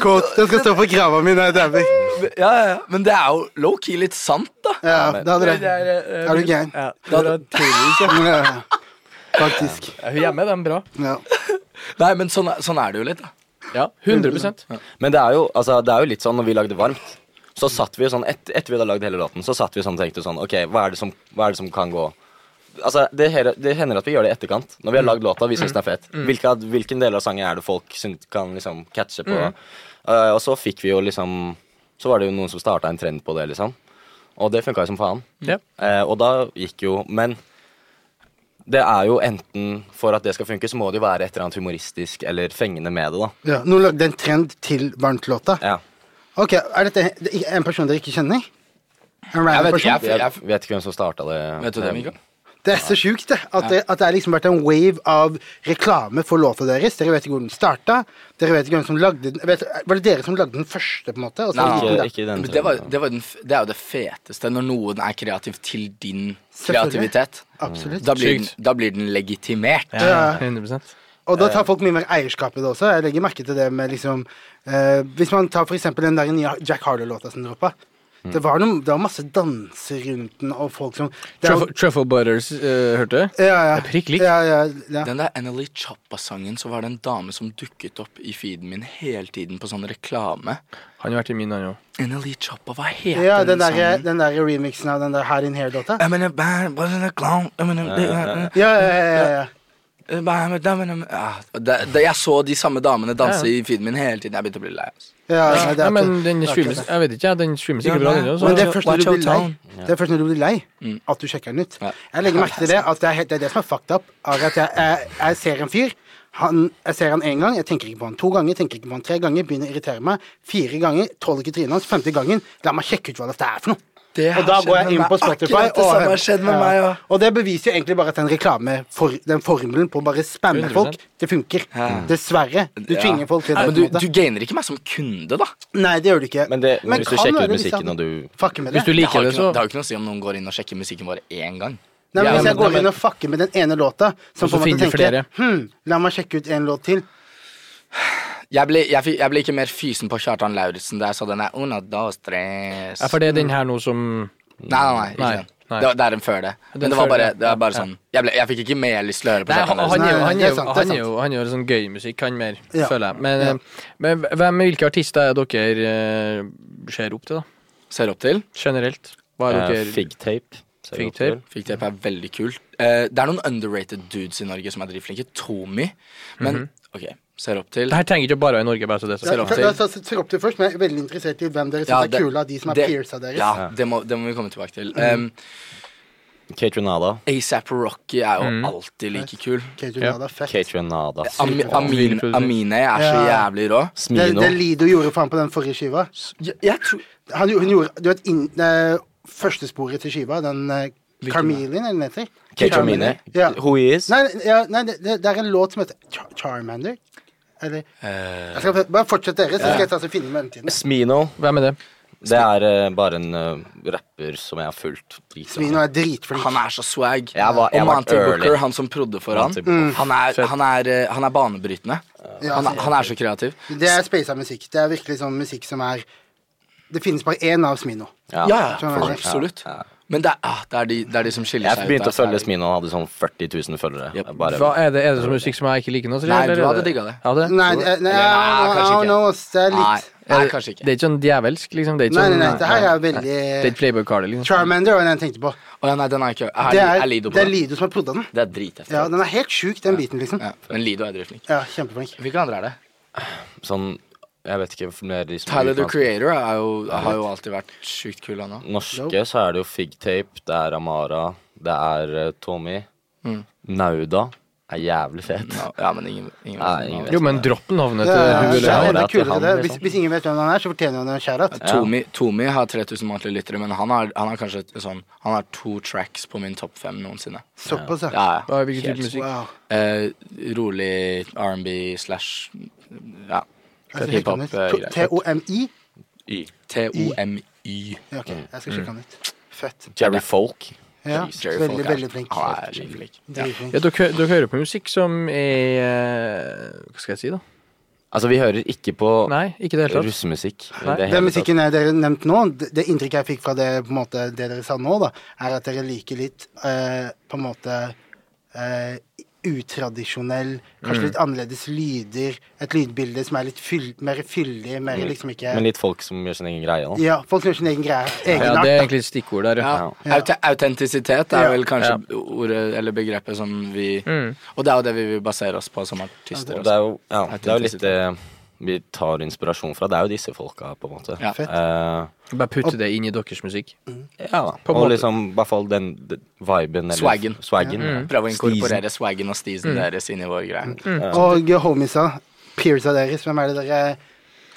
Speaker 4: Kåt, den skal stå på krava mi når jeg dauer.
Speaker 3: Ja, ja, ja. Men det er jo low-key litt sant, da.
Speaker 4: Ja, det hadde det. Er du gæren?
Speaker 1: eh, Ja,
Speaker 3: Da-
Speaker 1: det er tidligvis, ja.
Speaker 4: Ja, ja. Faktisk.
Speaker 1: Er hun hjemme? Den er bra.
Speaker 4: Ja.
Speaker 3: Nei, men sånn, er- sånn er det jo litt, da.
Speaker 1: Ja, 100
Speaker 2: Men det er jo, altså, det er jo litt sånn når vi lagde Varmt, så satt vi jo sånn et, Etter vi hadde lagd hele låten, så satt vi sånn og tenkte sånn OK, hva er det som, hva er det som kan gå? Altså, det, hele- det hender at vi gjør det i etterkant. Når vi har lagd låta, vi syns den er fet. Hvilke, av- hvilken del av sangen er det folk syn- kan liksom catche på? Eh, og så fikk vi jo liksom Så var det jo noen som starta en trend på det, liksom. Og det funka jo som faen.
Speaker 1: Ja.
Speaker 2: Eh, og da gikk jo Men det er jo enten For at det skal funke, så må det jo være et eller annet humoristisk eller fengende med det, da.
Speaker 4: Ja. Nå lagde jeg en trend til varmtlåta.
Speaker 2: Ja.
Speaker 4: Ok, er dette en- en person dere ikke kjenner? En random
Speaker 3: vet-
Speaker 4: person?
Speaker 3: jeg-
Speaker 2: Jeg vet ikke hvem som starta det.
Speaker 3: Vet du det, Mikael?
Speaker 4: Det er så sjukt, det. At, det. at det er liksom vært en wave av reklame for låta deres. Dere vet ikke hvor den starta. Dere vet ikke hvem som lagde den. Vet, var det dere som lagde den første, på en måte? Altså, liksom, Og så gikk
Speaker 3: Nei,
Speaker 4: den
Speaker 2: Ikke,
Speaker 4: der?
Speaker 2: ikke den
Speaker 3: Men det, var,
Speaker 2: trenden.
Speaker 3: det, var den, f- det er jo det feteste, når noen er kreativ til din
Speaker 4: Selvfølgelig.
Speaker 3: kreativitet.
Speaker 4: Absolutt.
Speaker 3: Da blir,
Speaker 1: Sykt.
Speaker 3: den, da blir den legitimert.
Speaker 4: Ja.
Speaker 1: 100
Speaker 4: Og da tar folk mye mer eierskap i det også. Jeg legger merke til det med liksom eh, Hvis man tar for eksempel den der nye Jack Harlow-låta som droppa. Det, var noen, det var masse danser rundt den, og folk som det er jo-
Speaker 1: Truffle, truffle Butters, eh, hørte du?
Speaker 4: ja, ja.
Speaker 1: Det er prikk lik.
Speaker 4: Ja, ja, ja.
Speaker 3: Den der Anneli Chappa-sangen, så var det en dame som dukket opp i feeden min hele tiden på sånn reklame.
Speaker 1: Han har vært i min, han òg.
Speaker 3: Anneli Chappa, hva heter
Speaker 4: ja den,
Speaker 3: den,
Speaker 4: der,
Speaker 3: sangen?
Speaker 4: den der remixen av den der Hard In Here-låta.
Speaker 3: I'm in a band, but in a clown, I'm in a-
Speaker 4: Ja, ja, ja, ja, ja.
Speaker 3: I'm in a- I'm in a- Ah, det- det- Jeg så de samme damene danse i feeden min hele tiden. Jeg begynte å bli lei. altså.
Speaker 4: ja, ja, det
Speaker 1: Nei,
Speaker 4: er
Speaker 1: men
Speaker 4: akkurat-
Speaker 1: den
Speaker 4: det er akkurat
Speaker 1: streames
Speaker 4: det.
Speaker 1: Jeg vet ikke, jeg. Den streames ikke
Speaker 3: Ja,
Speaker 1: bra,
Speaker 3: nei.
Speaker 1: den
Speaker 4: Men det
Speaker 1: òg.
Speaker 4: er først når
Speaker 3: Watch
Speaker 4: du blir
Speaker 3: Out
Speaker 4: lei,
Speaker 3: Town. Mm.
Speaker 4: det er først når du blir lei at du sjekker den ut.
Speaker 3: Ja.
Speaker 4: Jeg legger merke til det at det er, helt, det er det som er fucked up. Er at jeg, jeg, jeg ser en fyr. Han, jeg ser han én gang, jeg tenker ikke på han to ganger, jeg tenker ikke på han tre ganger, begynner å irritere meg. Fire ganger, tåler ikke trynet hans. Femte gangen, la meg sjekke ut hva dette er for noe.
Speaker 3: Det har
Speaker 4: Og da går
Speaker 3: skjedd med
Speaker 4: jeg inn
Speaker 3: meg.
Speaker 4: på Spotify.
Speaker 3: Akkurat det
Speaker 4: og-
Speaker 3: samme har skjedd med
Speaker 4: Ja.
Speaker 3: meg òg.
Speaker 4: Og det beviser jo egentlig bare at den reklame for, den formelen på å bare spamme
Speaker 1: 100%.
Speaker 4: folk, det funker.
Speaker 3: Ja.
Speaker 2: Mm.
Speaker 4: Dessverre. Du
Speaker 3: Ja.
Speaker 4: tvinger folk til det. på
Speaker 3: Nei, Men
Speaker 4: en
Speaker 3: du,
Speaker 4: måte.
Speaker 3: du gainer ikke meg som kunde, da.
Speaker 4: Nei, det gjør du ikke.
Speaker 2: Men, det, men, hvis du
Speaker 4: kan
Speaker 2: sjekker
Speaker 4: være
Speaker 2: ut
Speaker 4: hvis
Speaker 2: musikken,
Speaker 4: han liksom
Speaker 2: og du
Speaker 4: fucker med det.
Speaker 1: Hvis du
Speaker 3: det, har
Speaker 1: liker det,
Speaker 3: ikke noe,
Speaker 1: så
Speaker 3: det har ikke noe å si om noen går inn og sjekker musikken vår én gang.
Speaker 4: Nei, men
Speaker 1: Ja,
Speaker 4: Hvis jeg
Speaker 1: men-
Speaker 4: går inn og fucker med den ene låta, som
Speaker 1: Og så
Speaker 4: får meg til å
Speaker 1: finner flere.
Speaker 4: tenke Hm, la meg sjekke ut en låt til.
Speaker 3: Jeg ble, jeg, fikk- jeg ble ikke mer fysen på Kjartan Lauritzen da jeg så den der Una dos tres.
Speaker 1: Ja, for det er den her nå som
Speaker 3: Nei, nei, nei. Ikke
Speaker 1: Nei,
Speaker 3: den.
Speaker 1: nei.
Speaker 3: Det, var- det er en før det. Men det var
Speaker 1: før
Speaker 3: bare,
Speaker 1: det,
Speaker 3: det var bare
Speaker 1: ja.
Speaker 3: sånn jeg, ble, jeg fikk ikke mer lyst til å høre på
Speaker 1: Nei, han,
Speaker 3: Kjartan
Speaker 1: han,
Speaker 3: Lauritzen.
Speaker 1: er jo,
Speaker 4: Nei,
Speaker 1: han,
Speaker 4: det
Speaker 1: er
Speaker 4: er
Speaker 1: jo,
Speaker 4: sant, det er
Speaker 1: han, er jo, han gjør sånn gøy musikk, han mer,
Speaker 4: Ja.
Speaker 1: føler jeg. Men,
Speaker 4: Ja.
Speaker 1: eh, men hvem, hvilke artister er dere eh, ser opp til, da?
Speaker 3: Ser opp til.
Speaker 1: Generelt? Hva er
Speaker 2: eh,
Speaker 1: dere
Speaker 2: Figtape. ser jeg
Speaker 1: Figtape.
Speaker 2: opp til.
Speaker 3: Fikk tape er veldig kult. Eh, det er noen underrated dudes i Norge som er dritflinke. Tommy. Men ok, ser opp til.
Speaker 1: Mhm. Det her trenger ikke bare være i Norge, bare så det er
Speaker 4: La
Speaker 1: sagt.
Speaker 3: opp til.
Speaker 4: oss ta- ta opp til først, men jeg er veldig interessert i hvem dere syns
Speaker 3: Ja,
Speaker 4: er kule av de som er
Speaker 3: det-
Speaker 4: peers av deres.
Speaker 1: Mhm.
Speaker 3: Ja, det må, det må vi komme tilbake til. Um,
Speaker 2: Kate Renada.
Speaker 3: ASAP Rocky er
Speaker 1: Mhm.
Speaker 3: jo alltid like kul.
Speaker 4: Kate
Speaker 1: Ja.
Speaker 4: Renada, fett.
Speaker 2: Kate Renada.
Speaker 3: Ami,
Speaker 4: Superbra.
Speaker 3: Amin,
Speaker 1: Vinprodusent.
Speaker 3: Amine er så
Speaker 4: Ja.
Speaker 3: jævlig rå.
Speaker 4: Det,
Speaker 2: Smino.
Speaker 4: det Lido gjorde faen på den forrige skiva
Speaker 3: Jeg, jeg tror
Speaker 4: han, Hun gjorde Du vet inn, eh, førstesporet til skiva, den eh, Carmelian, eller hva den heter?
Speaker 2: Kate Romine.
Speaker 4: Ja.
Speaker 2: Who he is.
Speaker 4: Nei, ja, nei det, det det er en låt som heter Char Charmander. Eller
Speaker 3: Eh,
Speaker 4: jeg skal, Bare fortsett dere, så skal jeg ta og finne mellomtiden.
Speaker 2: Smino.
Speaker 1: Hvem er det?
Speaker 2: Det er eh, bare en eh, rapper som jeg har fulgt. dritlenge.
Speaker 4: Smino er dritflink.
Speaker 3: Han er så swag.
Speaker 2: Jeg var- jeg
Speaker 3: og
Speaker 2: var
Speaker 3: Monty
Speaker 2: early.
Speaker 3: Booker, han som prodde for han,
Speaker 2: Monty Booker.
Speaker 3: han, er, han, er, eh, han er banebrytende.
Speaker 4: Mm. Ja,
Speaker 3: Han, er- han er så kreativ.
Speaker 4: Det er spasa musikk. Det er virkelig sånn musikk som er Det finnes bare én av Smino.
Speaker 2: Ja.
Speaker 3: Ja, ja,
Speaker 4: Skjønner jeg.
Speaker 3: absolutt.
Speaker 2: Ja.
Speaker 3: Men det er, ah, det, er de, det er de som skiller
Speaker 2: Jeg
Speaker 3: seg
Speaker 2: begynte
Speaker 3: der,
Speaker 2: å
Speaker 3: så er
Speaker 2: følge
Speaker 3: det-
Speaker 2: Smino, han hadde sånn 40 000 følgere.
Speaker 3: Yep.
Speaker 2: Jeg bare-
Speaker 1: Hva er det, er det som musikk som jeg ikke liker nå?
Speaker 3: Nei, du
Speaker 1: eller er
Speaker 3: hadde
Speaker 1: det-
Speaker 3: digga det.
Speaker 1: Ja, det?
Speaker 4: Nei, nei, nei,
Speaker 3: Nei, kanskje
Speaker 4: I don't
Speaker 3: ikke.
Speaker 4: know, ass. det er
Speaker 3: Nei,
Speaker 4: litt
Speaker 3: nei, kanskje
Speaker 1: Det
Speaker 3: ikke.
Speaker 1: er ikke sånn djevelsk, liksom? Det er ikke
Speaker 4: Nei, nei,
Speaker 1: sånn
Speaker 4: nei, det her er
Speaker 1: Det er
Speaker 4: veldig
Speaker 1: ikke Playboy Carly, liksom?
Speaker 4: Charmander var den jeg tenkte på.
Speaker 3: Å ja, nei, den er ikke er,
Speaker 4: Det
Speaker 3: er,
Speaker 4: er,
Speaker 3: Lido på
Speaker 4: det er
Speaker 3: den?
Speaker 4: Lido som har prodda den.
Speaker 3: Det er dritheftig.
Speaker 4: Ja, Den er helt sjuk, den biten, liksom.
Speaker 3: Ja, men Lido er dritflink.
Speaker 4: Ja, Kjempeflink.
Speaker 3: Hvilke andre er det?
Speaker 2: Sånn, jeg vet ikke mer de som
Speaker 3: Tyler the
Speaker 2: utenlandske.
Speaker 3: Creator er jo, har jo alltid vært sjukt kul, han òg.
Speaker 2: Norske så er det jo Figtape, det er Amara, det er eh, Tommy.
Speaker 3: Mm.
Speaker 2: Nauda er jævlig fet.
Speaker 3: Ja, men ingen, ingen,
Speaker 2: Nei, ingen vet.
Speaker 1: Jo, men dropp navnet til
Speaker 4: Ja,
Speaker 1: du,
Speaker 4: ja,
Speaker 1: eller
Speaker 4: ja,
Speaker 2: jeg.
Speaker 1: han.
Speaker 4: det er
Speaker 2: At
Speaker 4: kulere
Speaker 2: han
Speaker 4: det.
Speaker 2: liksom-
Speaker 4: Hvis, hvis ingen vet hvem han er, så fortjener han en shoutout.
Speaker 3: Tomi, Tomi har 3000 månedlige lyttere, men han har, han har kanskje et sånn Han har to tracks på min topp fem noensinne.
Speaker 4: Såpass, ja.
Speaker 3: Ja,
Speaker 1: Hva
Speaker 3: ja.
Speaker 1: er Hvilken type
Speaker 3: Helt.
Speaker 1: musikk?
Speaker 4: Wow.
Speaker 3: Eh, rolig R&B slash Ja.
Speaker 4: Jeg skal
Speaker 3: Hiphop,
Speaker 4: sjekke han ut.
Speaker 3: eh,
Speaker 4: To-
Speaker 3: greier.
Speaker 4: T-O-M-I?
Speaker 3: T-O-M-Y.
Speaker 4: Ja, ok, jeg skal sjekke han ut. Fett.
Speaker 2: Jerry Ah, Folk.
Speaker 4: Ja,
Speaker 3: Jerry
Speaker 4: veldig,
Speaker 3: Folk er-
Speaker 4: veldig flink.
Speaker 3: Han er skikkelig flink.
Speaker 4: Dritflink.
Speaker 1: Ja, dere, hø- dere hører på musikk som er eh, Hva skal jeg si, da?
Speaker 2: Altså, vi hører ikke på
Speaker 1: Nei, ikke i det hele tatt.
Speaker 2: russemusikk. i
Speaker 1: Nei.
Speaker 2: det
Speaker 4: Den
Speaker 2: hele tatt.
Speaker 4: musikken jeg- dere nevnte nå, det det inntrykket jeg fikk fra det, på en måte, det dere sa nå, da, er at dere liker litt eh, på en måte eh, utradisjonell, kanskje
Speaker 1: Mm.
Speaker 4: litt annerledes lyder, et lydbilde som er litt fyll, mer fyldig, mer
Speaker 1: Mm.
Speaker 4: liksom ikke
Speaker 2: Men litt folk som gjør sin egen greie. Da.
Speaker 4: Ja, folk som gjør sin egen greie.
Speaker 1: Ja,
Speaker 4: Egenart.
Speaker 1: Det er
Speaker 4: da.
Speaker 1: egentlig et stikkord der, ja.
Speaker 3: Ja. Aut- Autentisitet er
Speaker 4: Ja. Mm.
Speaker 3: vel kanskje ordet eller begrepet som vi
Speaker 1: Mm.
Speaker 3: Og det er jo det vi vil basere oss på som artister.
Speaker 2: Og det
Speaker 3: Også.
Speaker 2: er jo, ja, det er jo litt det vi tar inspirasjon fra. Det er jo disse folka, på en måte.
Speaker 3: Ja.
Speaker 4: Fett.
Speaker 2: Eh,
Speaker 1: Bare putte det inn i deres musikk.
Speaker 2: ja da.
Speaker 1: På en
Speaker 2: og
Speaker 1: måte.
Speaker 2: liksom i hvert fall den, den viben eller
Speaker 3: Swaggen.
Speaker 2: swaggen ja.
Speaker 1: Mm.
Speaker 3: Prøve å inkorporere swaggen og steesen
Speaker 4: Mm.
Speaker 3: deres inn i vår greie.
Speaker 4: Og homiesa, peersa deres, hvem er det dere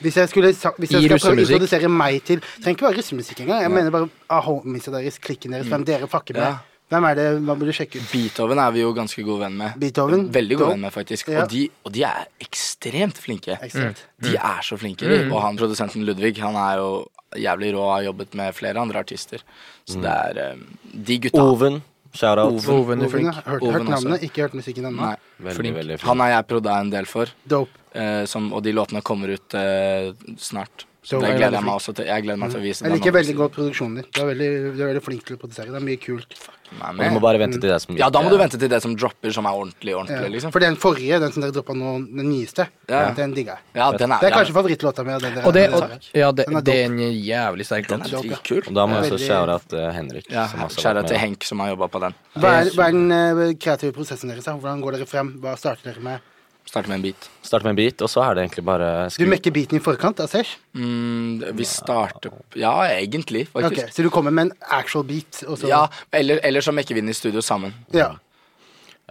Speaker 4: hvis jeg, skulle, sa- hvis jeg
Speaker 1: I
Speaker 4: skal prøve å
Speaker 1: russemusikk.
Speaker 4: introdusere meg til Trenger ikke være russemusikk engang. Jeg mener bare ah, homiesa deres, klikken deres,
Speaker 1: Mm.
Speaker 4: hvem dere fucker med.
Speaker 3: Ja.
Speaker 4: Hvem er det, Hva burde du sjekke ut?
Speaker 3: Mm. Beethoven er vi jo ganske god venn med.
Speaker 4: Beethoven?
Speaker 3: Veldig god
Speaker 4: Dope.
Speaker 3: venn med, faktisk.
Speaker 4: Ja.
Speaker 3: Og, de, og de er ekstremt flinke.
Speaker 1: Mm.
Speaker 4: Ekstremt.
Speaker 3: De
Speaker 2: Mm.
Speaker 3: er så flinke, de. Og han produsenten Ludvig, han er jo jævlig rå og har jobbet med flere andre artister. Så
Speaker 2: Mm.
Speaker 3: det er eh, De gutta
Speaker 2: Oven. Shout-out.
Speaker 1: Oven er
Speaker 4: Oven, ja.
Speaker 1: flink.
Speaker 4: Hørt,
Speaker 3: Oven
Speaker 4: hørt navnet,
Speaker 3: også.
Speaker 4: ikke hørt musikken ennå.
Speaker 3: Nei.
Speaker 2: Veldig,
Speaker 1: Flink.
Speaker 2: veldig flink.
Speaker 3: Han har jeg proda en del for,
Speaker 4: Dope.
Speaker 3: eh, som, og de låtene kommer ut eh, snart. Så
Speaker 4: Jo,
Speaker 3: det
Speaker 4: jeg er
Speaker 3: gleder
Speaker 4: veldig Mm.
Speaker 3: jeg meg også til. Jeg gleder meg til å vise
Speaker 4: Jeg
Speaker 3: den
Speaker 4: liker
Speaker 3: over
Speaker 4: veldig
Speaker 3: siden.
Speaker 4: godt produksjonen din. Du er veldig, du er veldig flink til å produsere. Det er mye kult.
Speaker 3: Nei,
Speaker 2: Og du
Speaker 3: men-
Speaker 2: må bare vente til det som
Speaker 3: Ja, da må du vente til det som dropper, som er ordentlig,
Speaker 4: Ja.
Speaker 3: ordentlig, liksom.
Speaker 4: Eh, For den forrige, den som dere droppa nå, den nyeste,
Speaker 3: Ja.
Speaker 4: den digga jeg.
Speaker 3: Ja, den er,
Speaker 4: Det er
Speaker 3: ja,
Speaker 4: kanskje favorittlåta mi. av det dere- Eh,
Speaker 1: Og det,
Speaker 4: dere
Speaker 1: og,
Speaker 4: har.
Speaker 1: ja, det,
Speaker 4: Den er dope.
Speaker 1: det er en jævlig sterk
Speaker 3: den
Speaker 1: låt.
Speaker 3: er dritkul.
Speaker 2: Og da må jeg også
Speaker 4: Veldig-
Speaker 2: shout-out eh, Henrik.
Speaker 3: Ja,
Speaker 2: som også har
Speaker 3: Kjære
Speaker 2: vært
Speaker 3: til
Speaker 2: med.
Speaker 3: Henk, som har jobba på den.
Speaker 4: Hva er, hva er den eh, kreative prosessen deres? da? Hvordan går dere frem? Hva starter dere med?
Speaker 3: Starte med en beat.
Speaker 2: Start med en beat, og så er det egentlig bare
Speaker 4: Du
Speaker 2: skri-
Speaker 4: mekker beaten i forkant, da, Sesh?
Speaker 3: Mm, vi starter Ja, egentlig,
Speaker 4: Ok,
Speaker 3: faktisk.
Speaker 4: så du kommer med en actual beat, og så
Speaker 3: Ja, eller, eller så mekker vi den i studio sammen.
Speaker 4: ja.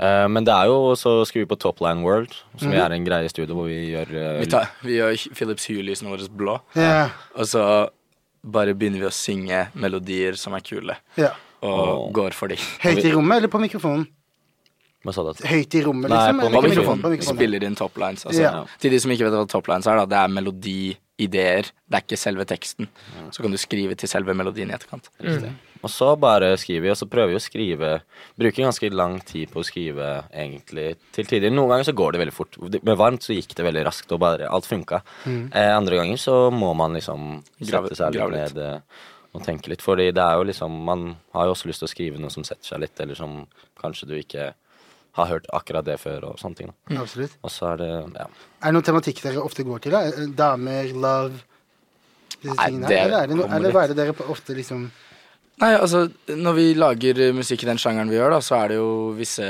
Speaker 2: Eh, men det er jo så skriver vi på Topline World, som er en greie i studio hvor vi gjør eh,
Speaker 3: Mhm. Vi, tar, vi gjør Philips Hue-lysene våre blå,
Speaker 4: Ja.
Speaker 3: og så bare begynner vi å synge melodier som er kule,
Speaker 4: ja.
Speaker 3: og går for de.
Speaker 4: Høyt i rommet eller på mikrofonen?
Speaker 2: Hva sa du? at-
Speaker 4: Høyt i rommet,
Speaker 2: Nei,
Speaker 4: liksom?
Speaker 2: på
Speaker 4: eller
Speaker 2: mikrofonen.
Speaker 4: På
Speaker 3: Vi spiller inn toplines. Altså.
Speaker 4: Ja.
Speaker 3: Til de som ikke vet hva toplines er, da, det er melodi, ideer, det er ikke selve teksten. Så kan du skrive til selve melodien i etterkant.
Speaker 2: Og så bare skriver vi, og så prøver vi å skrive Bruker ganske lang tid på å skrive, egentlig, til tider. Noen ganger så går det veldig fort. Med varmt så gikk det veldig raskt, og bare alt funka.
Speaker 4: Mm.
Speaker 2: Eh, andre ganger så må man liksom
Speaker 3: Grave-
Speaker 2: sette seg
Speaker 3: grave
Speaker 2: litt
Speaker 3: litt.
Speaker 2: ned eh, og tenke litt. Fordi det er jo liksom Man har jo også lyst til å skrive noe som setter seg litt, eller som kanskje du ikke har hørt akkurat det før, og sånne ting. da.
Speaker 4: Absolutt.
Speaker 2: Og så er det Ja.
Speaker 4: Er det noen tematikk dere ofte går til? da? Eh, Damer, love disse
Speaker 3: Nei,
Speaker 4: tingene?
Speaker 3: det
Speaker 4: her? Eller er det, no,
Speaker 3: kommer
Speaker 4: eller hva er det dere på- ofte liksom
Speaker 3: Nei, altså, når vi lager eh, musikk i den sjangeren vi gjør, da, så er det jo visse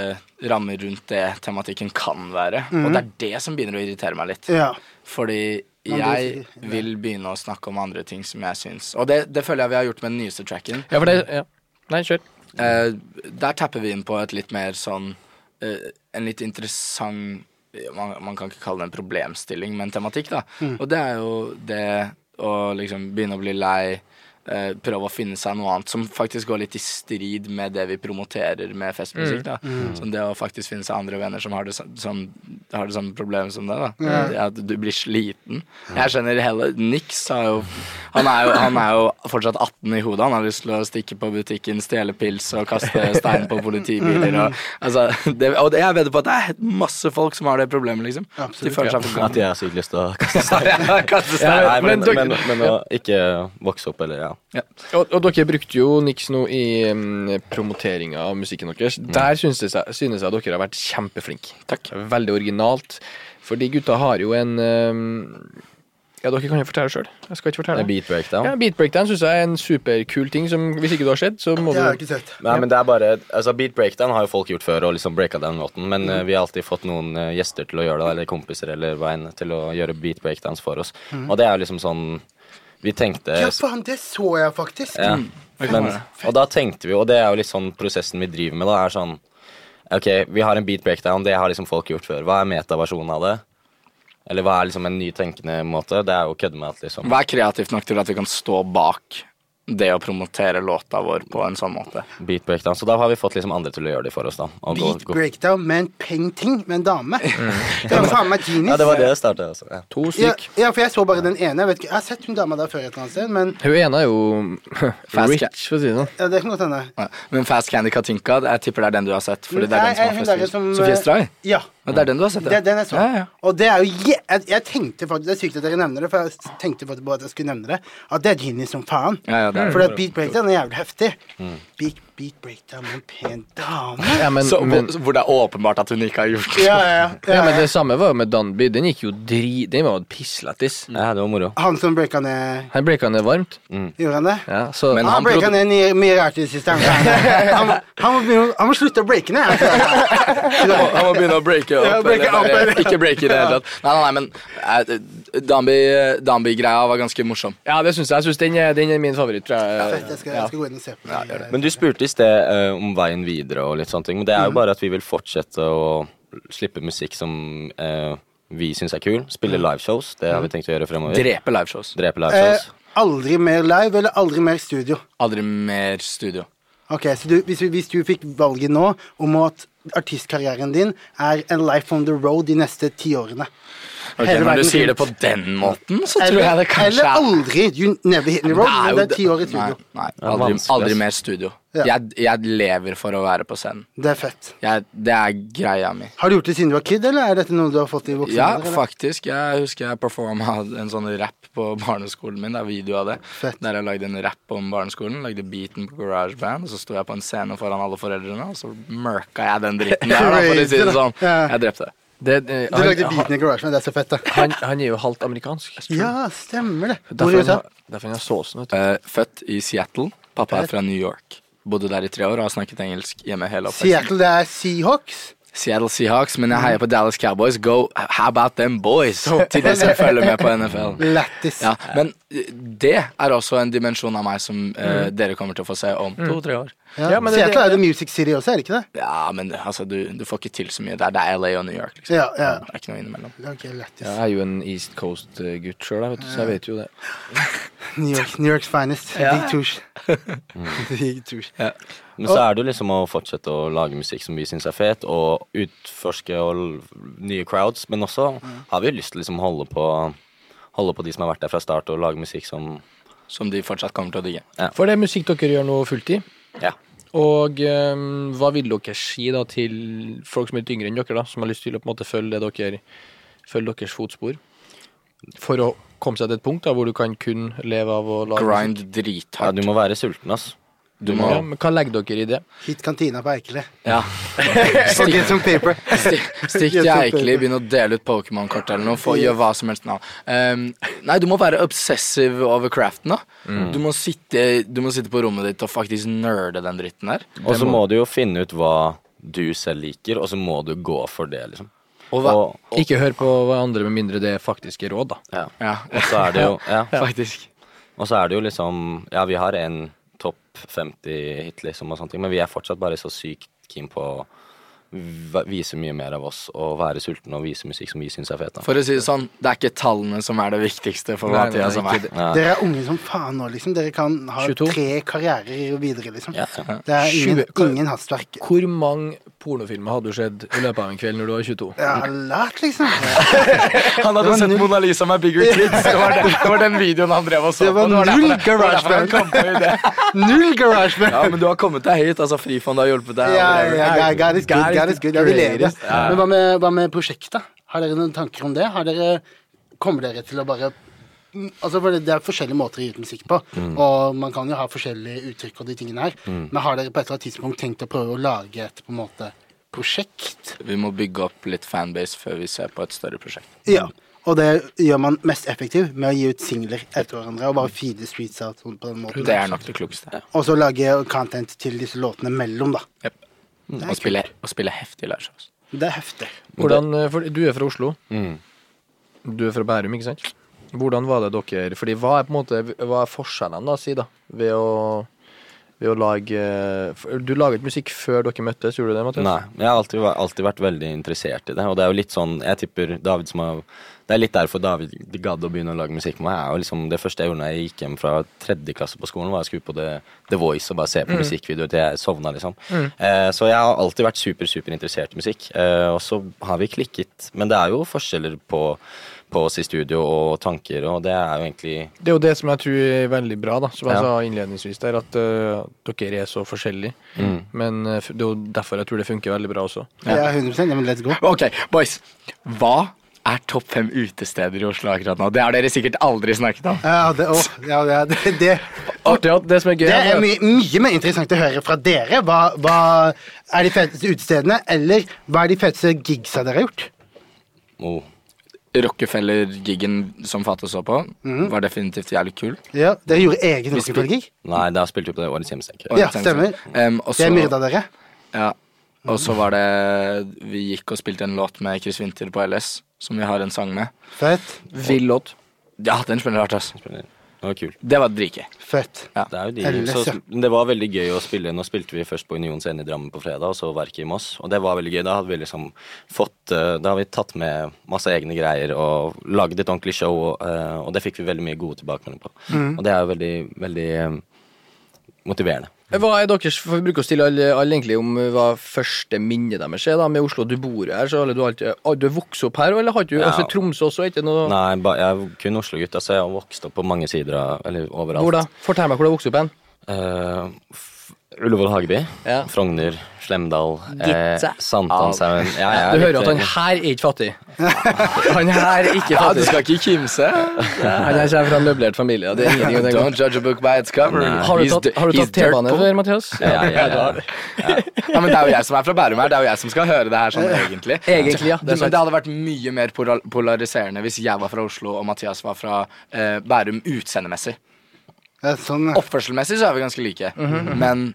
Speaker 3: rammer rundt det tematikken kan være. Og det er det som begynner å irritere meg litt.
Speaker 4: Mhm. Ja.
Speaker 3: Fordi
Speaker 4: Man blir
Speaker 3: jeg
Speaker 4: sikker-
Speaker 3: vil begynne å snakke om andre ting som jeg syns Og det, det føler jeg vi har gjort med den nyeste tracken.
Speaker 1: Ja, for det ja. Nei, kjør.
Speaker 3: Eh, der tapper vi inn på et litt mer sånn eh, En litt interessant man, man kan ikke kalle det en problemstilling, men tematikk, da. Og det er jo det å liksom begynne å bli lei. eh, prøve å finne seg noe annet som faktisk går litt i strid med det vi promoterer med festmusikk. da Som det å faktisk finne seg andre venner som har det, sam- som, sånn, har det samme problemet som deg. da Det At du blir sliten. Jeg skjønner heller Nix har jo han, er jo han er jo fortsatt 18 i hodet. Han har lyst til å stikke på butikken, stjele pils og kaste stein på politibiler. Og, altså, det, og det, jeg vedder på at det er masse folk som har det problemet, liksom.
Speaker 4: Absolutt,
Speaker 3: de føler seg for
Speaker 2: At jeg har sykt lyst til å kaste stein.
Speaker 3: gamle. kaste stein.
Speaker 2: Nei, men,
Speaker 1: men dere-
Speaker 2: men, men å ikke vokse opp, eller ja.
Speaker 1: Og, og dere brukte jo Nix nå i um, promoteringa av musikken deres. Der synes, det seg, synes jeg dere har vært kjempeflinke. Mm. Takk. Veldig originalt. For de gutta har jo en um, Ja, dere kan jo fortelle sjøl. Jeg skal ikke
Speaker 2: Det
Speaker 1: fortelle.
Speaker 2: er beat breakdown.
Speaker 1: Ja, Beat breakdown syns jeg er en superkul ting som hvis ikke du har sett, så må
Speaker 4: Det har jeg
Speaker 1: du
Speaker 4: ikke sett.
Speaker 2: Nei, men det er bare Altså, beat breakdown har jo folk gjort før og liksom breaka den låten, men eh, vi har alltid fått noen eh, gjester til å gjøre det, eller kompiser eller hva enn, til å gjøre beat breakdowns for oss. Og det er jo liksom sånn Vi tenkte
Speaker 4: Ja, faen, det så jeg faktisk. Mm.
Speaker 2: Ja.
Speaker 3: det kan
Speaker 2: Men, og da tenkte vi jo, og det er jo litt sånn prosessen vi driver med, da, er sånn Ok, vi har en beat breakdown, det har liksom folk gjort før. Hva er metaversjonen av det? Eller hva er liksom en ny tenkende måte? Det er jo å kødde med at liksom
Speaker 3: Vær kreativt nok til at vi kan stå bak det å promotere låta vår på en sånn måte.
Speaker 2: beat breakdown. Så da har vi fått liksom andre til å gjøre det for oss, da. Og gå-
Speaker 4: Beat
Speaker 2: gå-
Speaker 4: breakdown med en painting med en dame. Mm. Det var faen meg
Speaker 2: Ja,
Speaker 4: genius.
Speaker 2: det var det det startet også. Ja.
Speaker 1: To
Speaker 4: Ja,
Speaker 1: stykk.
Speaker 4: ja, for jeg så bare den ene. Jeg, vet ikke, jeg har sett hun dama der før et eller annet sted, men
Speaker 1: Hun ene er jo rich, for å si det sånn.
Speaker 4: ja, det kan godt hende.
Speaker 3: Ja. Men Fast Candy Katinka, jeg tipper det er den du har sett. Fordi det
Speaker 4: Nei,
Speaker 3: er den som har
Speaker 4: hun
Speaker 3: flest
Speaker 4: der
Speaker 3: views.
Speaker 4: som,
Speaker 3: Sofie
Speaker 4: eh,
Speaker 3: Stray?
Speaker 4: Ja.
Speaker 3: Ja, det er den du har sett?
Speaker 4: Det er den jeg så.
Speaker 3: Ja, ja.
Speaker 4: Og det er jo je- jeg, jeg tenkte faktisk Det er sykt at dere nevner det, for jeg s- tenkte faktisk på at jeg skulle nevne det. At det er genius som faen.
Speaker 3: Ja, ja, det er det.
Speaker 4: for at beat breakdown er jævlig heftig. Beat, beat breakdown med en pen dame.
Speaker 1: Ja, men,
Speaker 3: Så,
Speaker 1: men,
Speaker 3: hvor, hvor det er åpenbart at hun ikke har gjort det.
Speaker 4: Ja, ja, ja.
Speaker 1: ja, men det samme var jo med Danby. Den gikk jo dri... Den var jo pisslættis.
Speaker 2: ja, det var moro.
Speaker 4: Han som breaka ned
Speaker 1: Han breaka ned varmt.
Speaker 4: Gjorde han det?
Speaker 1: Ja, så
Speaker 2: Men
Speaker 4: han
Speaker 2: han
Speaker 4: breaka
Speaker 2: prod-
Speaker 4: ned nye- mye rart i det siste. Han, han, må- han, må begynne- han må slutte å breake ned.
Speaker 3: Han må begynne å breake opp.
Speaker 4: Ja, breake
Speaker 3: eller
Speaker 4: opp,
Speaker 3: bare-
Speaker 4: eller-
Speaker 3: Ikke breake i det hele tatt. Nei, nei, nei, men eh, Danby- Danby-greia var ganske morsom.
Speaker 1: Ja, det syns jeg. jeg synes den, er, den er min favoritt, tror jeg.
Speaker 4: Fett, jeg skal, jeg skal gå inn og se på det.
Speaker 2: Men du spurte i sted eh, om veien videre og litt sånne ting. Men det er jo bare at vi vil fortsette å slippe musikk som eh, vi syns er kul. Spille liveshows. Det har vi tenkt å gjøre fremover.
Speaker 3: Drepe liveshows.
Speaker 2: Mm. Drepe
Speaker 4: eh,
Speaker 2: liveshows.
Speaker 4: aldri mer live eller aldri mer studio?
Speaker 3: Aldri mer studio.
Speaker 4: Ok, så du, hvis, hvis du fikk valget nå om at artistkarrieren din er en life on the road de neste ti årene
Speaker 3: Ok,
Speaker 4: Hele
Speaker 3: når du
Speaker 4: verden
Speaker 3: sier det
Speaker 4: rundt.
Speaker 3: på den måten, så tror
Speaker 4: Eller,
Speaker 3: jeg det kanskje
Speaker 4: eller
Speaker 3: er
Speaker 4: aldri. You never hit the road, men det er ti år i studio.
Speaker 3: Nei, nei
Speaker 2: er
Speaker 3: aldri,
Speaker 2: vanskelig,
Speaker 3: aldri
Speaker 2: ass.
Speaker 3: mer studio.
Speaker 4: Ja.
Speaker 3: Jeg, jeg lever for å være på scenen.
Speaker 4: Det er fett.
Speaker 3: Jeg, det er greia mi.
Speaker 4: Har du gjort det siden du var kid, eller er dette noe du har fått i voksen
Speaker 3: Ja,
Speaker 4: alder, eller?
Speaker 3: faktisk. Jeg husker jeg performa en sånn rap på barneskolen min. Det er video av det.
Speaker 4: Fett.
Speaker 3: Der jeg lagde en rap om barneskolen. Lagde beaten på Garage Band. Og så sto jeg på en scene foran alle foreldrene, og så mørka jeg den dritten der, da, for å si det sånn.
Speaker 4: Ja.
Speaker 3: Jeg drepte det.
Speaker 1: Det, det,
Speaker 4: Du lagde
Speaker 1: han,
Speaker 4: beaten i garasjen, det er så fett, da.
Speaker 1: han, han er jo halvt amerikansk.
Speaker 4: Ja, stemmer det. Hvor
Speaker 1: Derfor
Speaker 4: i
Speaker 1: han,
Speaker 4: USA?
Speaker 1: har- derfor han har såsen, vet du.
Speaker 3: Eh, født i Seattle. Pappa er fra New York. Bodde der i tre år og har snakket engelsk hjemme hele oppveksten.
Speaker 4: Seattle, det er Seahawks.
Speaker 3: Seattle Seahawks, men jeg heier på Dallas Cowboys. Go, how about them boys? Til de som følger med på NFL.
Speaker 4: Lættis.
Speaker 3: Ja, men eh, det er også en dimensjon av meg som eh,
Speaker 2: Mm.
Speaker 3: dere kommer til å få se om to-tre år.
Speaker 4: Ja.
Speaker 1: Ja, men det-
Speaker 4: Seattle er jo Music City også, er det ikke det?
Speaker 3: Ja, men altså, du, du får ikke til så mye. Det er, det er LA og New York, liksom.
Speaker 4: Ja, ja.
Speaker 3: Det er ikke noe innimellom.
Speaker 4: Ok, lættis.
Speaker 1: Jeg er jo en East Coast-gutt sjøl, jeg vet du, så jeg vet jo det.
Speaker 4: New York, New Yorks finest. Big tours. Big tours.
Speaker 2: Men så er det jo liksom å fortsette å lage musikk som vi syns er fet, og utforske og l- nye crowds. Men også har vi lyst til liksom å holde på, holde på de som har vært der fra start, og lage musikk som
Speaker 3: Som de fortsatt kommer til å digge.
Speaker 1: For det er musikk dere gjør nå fulltid.
Speaker 2: Ja.
Speaker 1: Og ehm, hva vil dere si da til folk som er litt yngre enn dere, da, som har lyst til å på en måte følge, det dere, følge deres fotspor? For å komme seg til et punkt da, hvor du kan kun leve av å lage
Speaker 3: Grind
Speaker 2: ja,
Speaker 3: drithardt.
Speaker 2: du må være sulten, ass. Du må
Speaker 1: Ja, men hva legger dere i det?
Speaker 4: Hit kantina på Eikele.
Speaker 3: Ja.
Speaker 4: Forget some paper.
Speaker 3: Stikk, stikk til
Speaker 4: Yes, okay.
Speaker 3: Eikeli, begynn å dele ut Pokémon-kort eller noe. Få, gjør hva som helst nå. Ehm, nei, du må være obsessive over craften. da
Speaker 2: Mm.
Speaker 3: du, må sitte, du må sitte på rommet ditt og faktisk nerde den dritten der.
Speaker 2: Og så må du jo finne ut hva du selv liker, og så må du gå for det, liksom.
Speaker 3: Og hva,
Speaker 2: Og-
Speaker 1: Ikke hør på hva andre, med mindre det er faktiske råd, da.
Speaker 2: ja.
Speaker 3: ja,
Speaker 2: Og så er det jo ja.
Speaker 3: faktisk.
Speaker 2: Og så er det jo liksom Ja, vi har en topp topp 50-hit, liksom, og sånne ting. Men vi er fortsatt bare så sykt keen på å v- vise mye mer av oss og være sultne og vise musikk som vi syns er fet. da.
Speaker 3: For å si det sånn, det er ikke tallene som er det viktigste for
Speaker 1: Nei, nei,
Speaker 3: Mathias
Speaker 1: det er
Speaker 3: og meg.
Speaker 2: Ja.
Speaker 4: Dere er unge som faen nå, liksom. Dere kan ha
Speaker 1: 22.
Speaker 4: tre karrierer videre, liksom.
Speaker 2: Ja, ja.
Speaker 4: Det er ingen,
Speaker 1: Tjue-
Speaker 4: ingen hastverk.
Speaker 1: Hvor mange pornofilmer hadde du sett i løpet av en kveld når du var 22?
Speaker 4: Jeg har lært, liksom.
Speaker 2: Han hadde sett Mona Lisa med Bigger
Speaker 1: Eh,
Speaker 2: Kids.
Speaker 3: Det var, den, det var den videoen han drev og så
Speaker 4: Det var
Speaker 3: på. var
Speaker 4: null
Speaker 3: derfor- det var derfor han kom på ideen.
Speaker 4: Null garasje
Speaker 3: Ja, men du har kommet deg høyt. altså Frifond har hjulpet deg.
Speaker 4: Ja,
Speaker 3: og whatever.
Speaker 4: ja, God, God is good, God is good. Ja, vi lever.
Speaker 3: greatest.
Speaker 4: Men hva med, hva med prosjektet? Har dere noen tanker om det? Har dere, kommer dere til å bare Altså, for det det er forskjellige måter å gi ut musikk på, og man kan jo ha forskjellige uttrykk og de tingene her, men har dere på et eller annet tidspunkt tenkt å prøve å lage et på en måte prosjekt?
Speaker 3: Vi må bygge opp litt fanbase før vi ser på et større prosjekt.
Speaker 4: Ja. Og det gjør man mest effektivt med å gi ut singler etter hverandre og bare feede streets out på den måten.
Speaker 3: Det er nok det klokeste.
Speaker 4: Og så lage content til disse låtene mellom, da.
Speaker 3: Å spille, å spille heftig liveshows.
Speaker 4: Det er heftig.
Speaker 1: Hvordan, eh, for du er fra Oslo.
Speaker 2: Mm.
Speaker 1: Du er fra Bærum, ikke sant? Hvordan var det dere Fordi hva er på en måte Hva er forskjellene, da, si, da? Ved å, ved å lage eh, for Du laget musikk før dere møttes, gjorde du det, Mathias?
Speaker 2: Nei. Jeg har alltid, vært- alltid vært veldig interessert i det. Og det er jo litt sånn Jeg tipper David som har Det er litt derfor David gadd å begynne å lage musikk med meg. er jo liksom, det første jeg gjorde da jeg gikk hjem fra tredje klasse på skolen, var å skru på The, The Voice og bare se på musikkvideoer til jeg sovna, liksom. Eh, så jeg har alltid vært super, super interessert i musikk. Eh, og så har vi klikket. Men det er jo forskjeller på, på oss i studio og tanker, og det er jo egentlig
Speaker 1: Det er jo det som jeg tror er veldig bra, da, som jeg
Speaker 2: Ja.
Speaker 1: sa innledningsvis der, at eh, dere er så forskjellige.
Speaker 2: Mm.
Speaker 1: Men eh, f- det er jo derfor jeg tror det funker veldig bra også.
Speaker 4: Ja, 100 ja, men let's go.
Speaker 3: Ok, boys. Hva er topp fem utesteder i Oslo akkurat nå? Det har dere sikkert aldri snakket om.
Speaker 4: Ja, det, å, ja, ja, det, det
Speaker 1: Artig at det som er gøy
Speaker 4: Det
Speaker 1: er
Speaker 4: er
Speaker 1: at-
Speaker 4: mye, mye mer interessant å høre fra dere. Hva, hva er de feteste utestedene, eller hva er de feteste gigsa dere har gjort?
Speaker 2: oh.
Speaker 3: Rockefeller-giggen som Fato så på,
Speaker 4: Mhm.
Speaker 3: var definitivt jævlig kul.
Speaker 4: Ja, dere gjorde egen rockefeller-gig.
Speaker 2: Nei, da spilte vi på det Årets hjemmestenker.
Speaker 3: Og
Speaker 4: Ja,
Speaker 3: jeg tenkte-
Speaker 4: stemmer.
Speaker 3: Em, Um, og
Speaker 4: Jeg
Speaker 3: så-
Speaker 4: myrda dere.
Speaker 3: Ja. Og så var det Vi gikk og spilte en låt med Chris Winther på LS, som vi har en sang med.
Speaker 4: Fett.
Speaker 1: Vill låt.
Speaker 3: Ja, den spiller rart, ass.
Speaker 2: Det var kult.
Speaker 3: Det var dritgøy.
Speaker 4: Fett.
Speaker 2: Det er jo de.
Speaker 4: Ellers,
Speaker 2: Så,
Speaker 4: ja.
Speaker 2: men det var veldig gøy å spille. Nå spilte vi først på Union Scene i Drammen på fredag, og så Verket i Moss. Og det var veldig gøy. Da hadde vi liksom fått eh, Da har vi tatt med masse egne greier og lagd et ordentlig show, og, eh, og det fikk vi veldig mye gode tilbakemeldinger på. Og det er jo veldig, veldig eh, motiverende.
Speaker 1: Eh, Hva er deres For vi bruker å stille alle, alle egentlig om eh, hva første minne deres er da, med Oslo. Du bor her, så eller du har alltid ah, Du har vokst opp her, eller har du
Speaker 2: Ja.
Speaker 1: Altså Tromsø også, ikke noe
Speaker 2: Nei, ba, jeg er kun Oslo-gutt. Altså, jeg har vokst opp på mange sider av Eller overalt.
Speaker 1: Hvor da? Fortell meg hvor du har vokst opp hen.
Speaker 2: Eh, f- Ullevål Hageby,
Speaker 1: Ja.
Speaker 2: Frogner, Slemdal, eh,
Speaker 1: Gitte.
Speaker 2: Sankthanshaugen Ja, jeg er
Speaker 1: Du hører
Speaker 2: litt-
Speaker 1: at han her er ikke fattig. Han her er ikke fattig.
Speaker 3: skal ikke kimse.
Speaker 1: Han her kommer fra en møblert familie. og Det er ingenting å tenke på.
Speaker 3: Don't judge a book by its cover.
Speaker 2: Nei.
Speaker 1: Har du
Speaker 3: He's
Speaker 1: tatt,
Speaker 3: di-
Speaker 1: har du
Speaker 3: he's
Speaker 1: tatt
Speaker 3: dirt
Speaker 1: T-bane
Speaker 3: poor.
Speaker 1: før, Mathias?
Speaker 2: Ja, ja, ja, ja.
Speaker 3: Ja, men Det er jo jeg som er fra Bærum her. Det er jo jeg som skal høre det her sånn egentlig.
Speaker 1: Egentlig, ja, det
Speaker 3: Det,
Speaker 1: er sant.
Speaker 3: men det hadde vært mye mer pola- polariserende hvis jeg var fra Oslo og Mathias var fra eh, Bærum utseendemessig.
Speaker 4: Ja, sånn. ja.
Speaker 3: Oppførselmessig så er vi ganske like,
Speaker 1: Mhm,
Speaker 3: men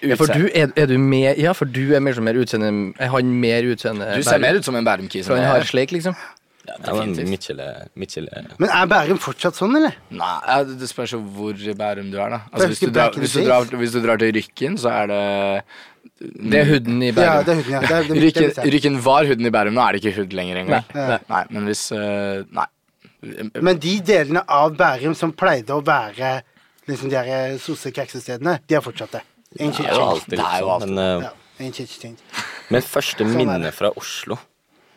Speaker 1: Ja, for du
Speaker 3: utseende
Speaker 1: er, er du mer Ja, for du er mer som mer utseende Er han mer utseende
Speaker 3: Du ser mer ut som en Bærum-kis
Speaker 1: For
Speaker 3: enn
Speaker 1: han har
Speaker 3: jeg.
Speaker 1: sleik, liksom?
Speaker 2: Ja, men
Speaker 3: definitivt.
Speaker 2: Midtskille- Midtskille-
Speaker 4: Men er Bærum fortsatt sånn, eller?
Speaker 3: Nei, ja, det det spørs jo hvor i Bærum du er, da.
Speaker 4: Husker
Speaker 3: Altså, hvis, du
Speaker 4: back
Speaker 3: drar,
Speaker 4: in
Speaker 3: hvis,
Speaker 4: the
Speaker 3: du drar,
Speaker 4: days.
Speaker 3: hvis du drar til Rykken, så er det Mm.
Speaker 1: Det er hooden i
Speaker 4: Ja,
Speaker 1: Bærum.
Speaker 4: det er huden, ja. Det er, det, det,
Speaker 3: Rykken,
Speaker 4: det, det,
Speaker 3: Rykken var huden i Bærum, nå er det ikke hud lenger engang.
Speaker 4: Nei.
Speaker 3: Nei, men hvis eh, Nei.
Speaker 4: Men de delene av Bærum som pleide å være liksom de her sosse kjeksestedene, de har fortsatt det.
Speaker 2: Det er
Speaker 4: En
Speaker 2: jo
Speaker 4: kirke-
Speaker 2: alltid
Speaker 3: Det er jo
Speaker 2: litt sånn, men, eh,
Speaker 4: Ja, en kirke-ting.
Speaker 2: men første
Speaker 4: er
Speaker 2: minne
Speaker 4: det.
Speaker 2: fra Oslo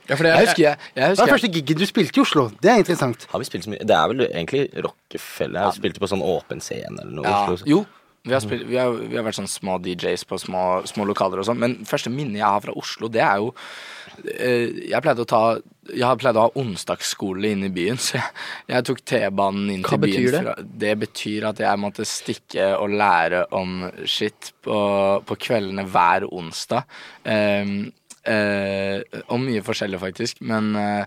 Speaker 1: Ja, for det
Speaker 3: Jeg
Speaker 1: er,
Speaker 3: husker jeg, jeg
Speaker 4: Hva
Speaker 3: husker
Speaker 4: er første giggen du spilte i Oslo? Det er interessant.
Speaker 2: Har vi spilt så mye? Det er vel egentlig Rockefeller. Jeg spilte på sånn åpen scene eller noe. i
Speaker 3: Ja,
Speaker 2: Oslo.
Speaker 3: jo, vi har, spilt, vi, har, vi har vært sånn små DJs på små, små lokaler og sånn, men første minne jeg har fra Oslo, det er jo eh, Jeg pleide å ta Jeg har pleid å ha onsdagsskole inne i byen, så jeg, jeg tok T-banen inn
Speaker 1: Hva
Speaker 3: til byen.
Speaker 1: betyr det?
Speaker 3: Fra, det betyr at jeg måtte stikke og lære om shit på, på kveldene hver onsdag. Ehm, eh, og mye forskjellig, faktisk, men eh,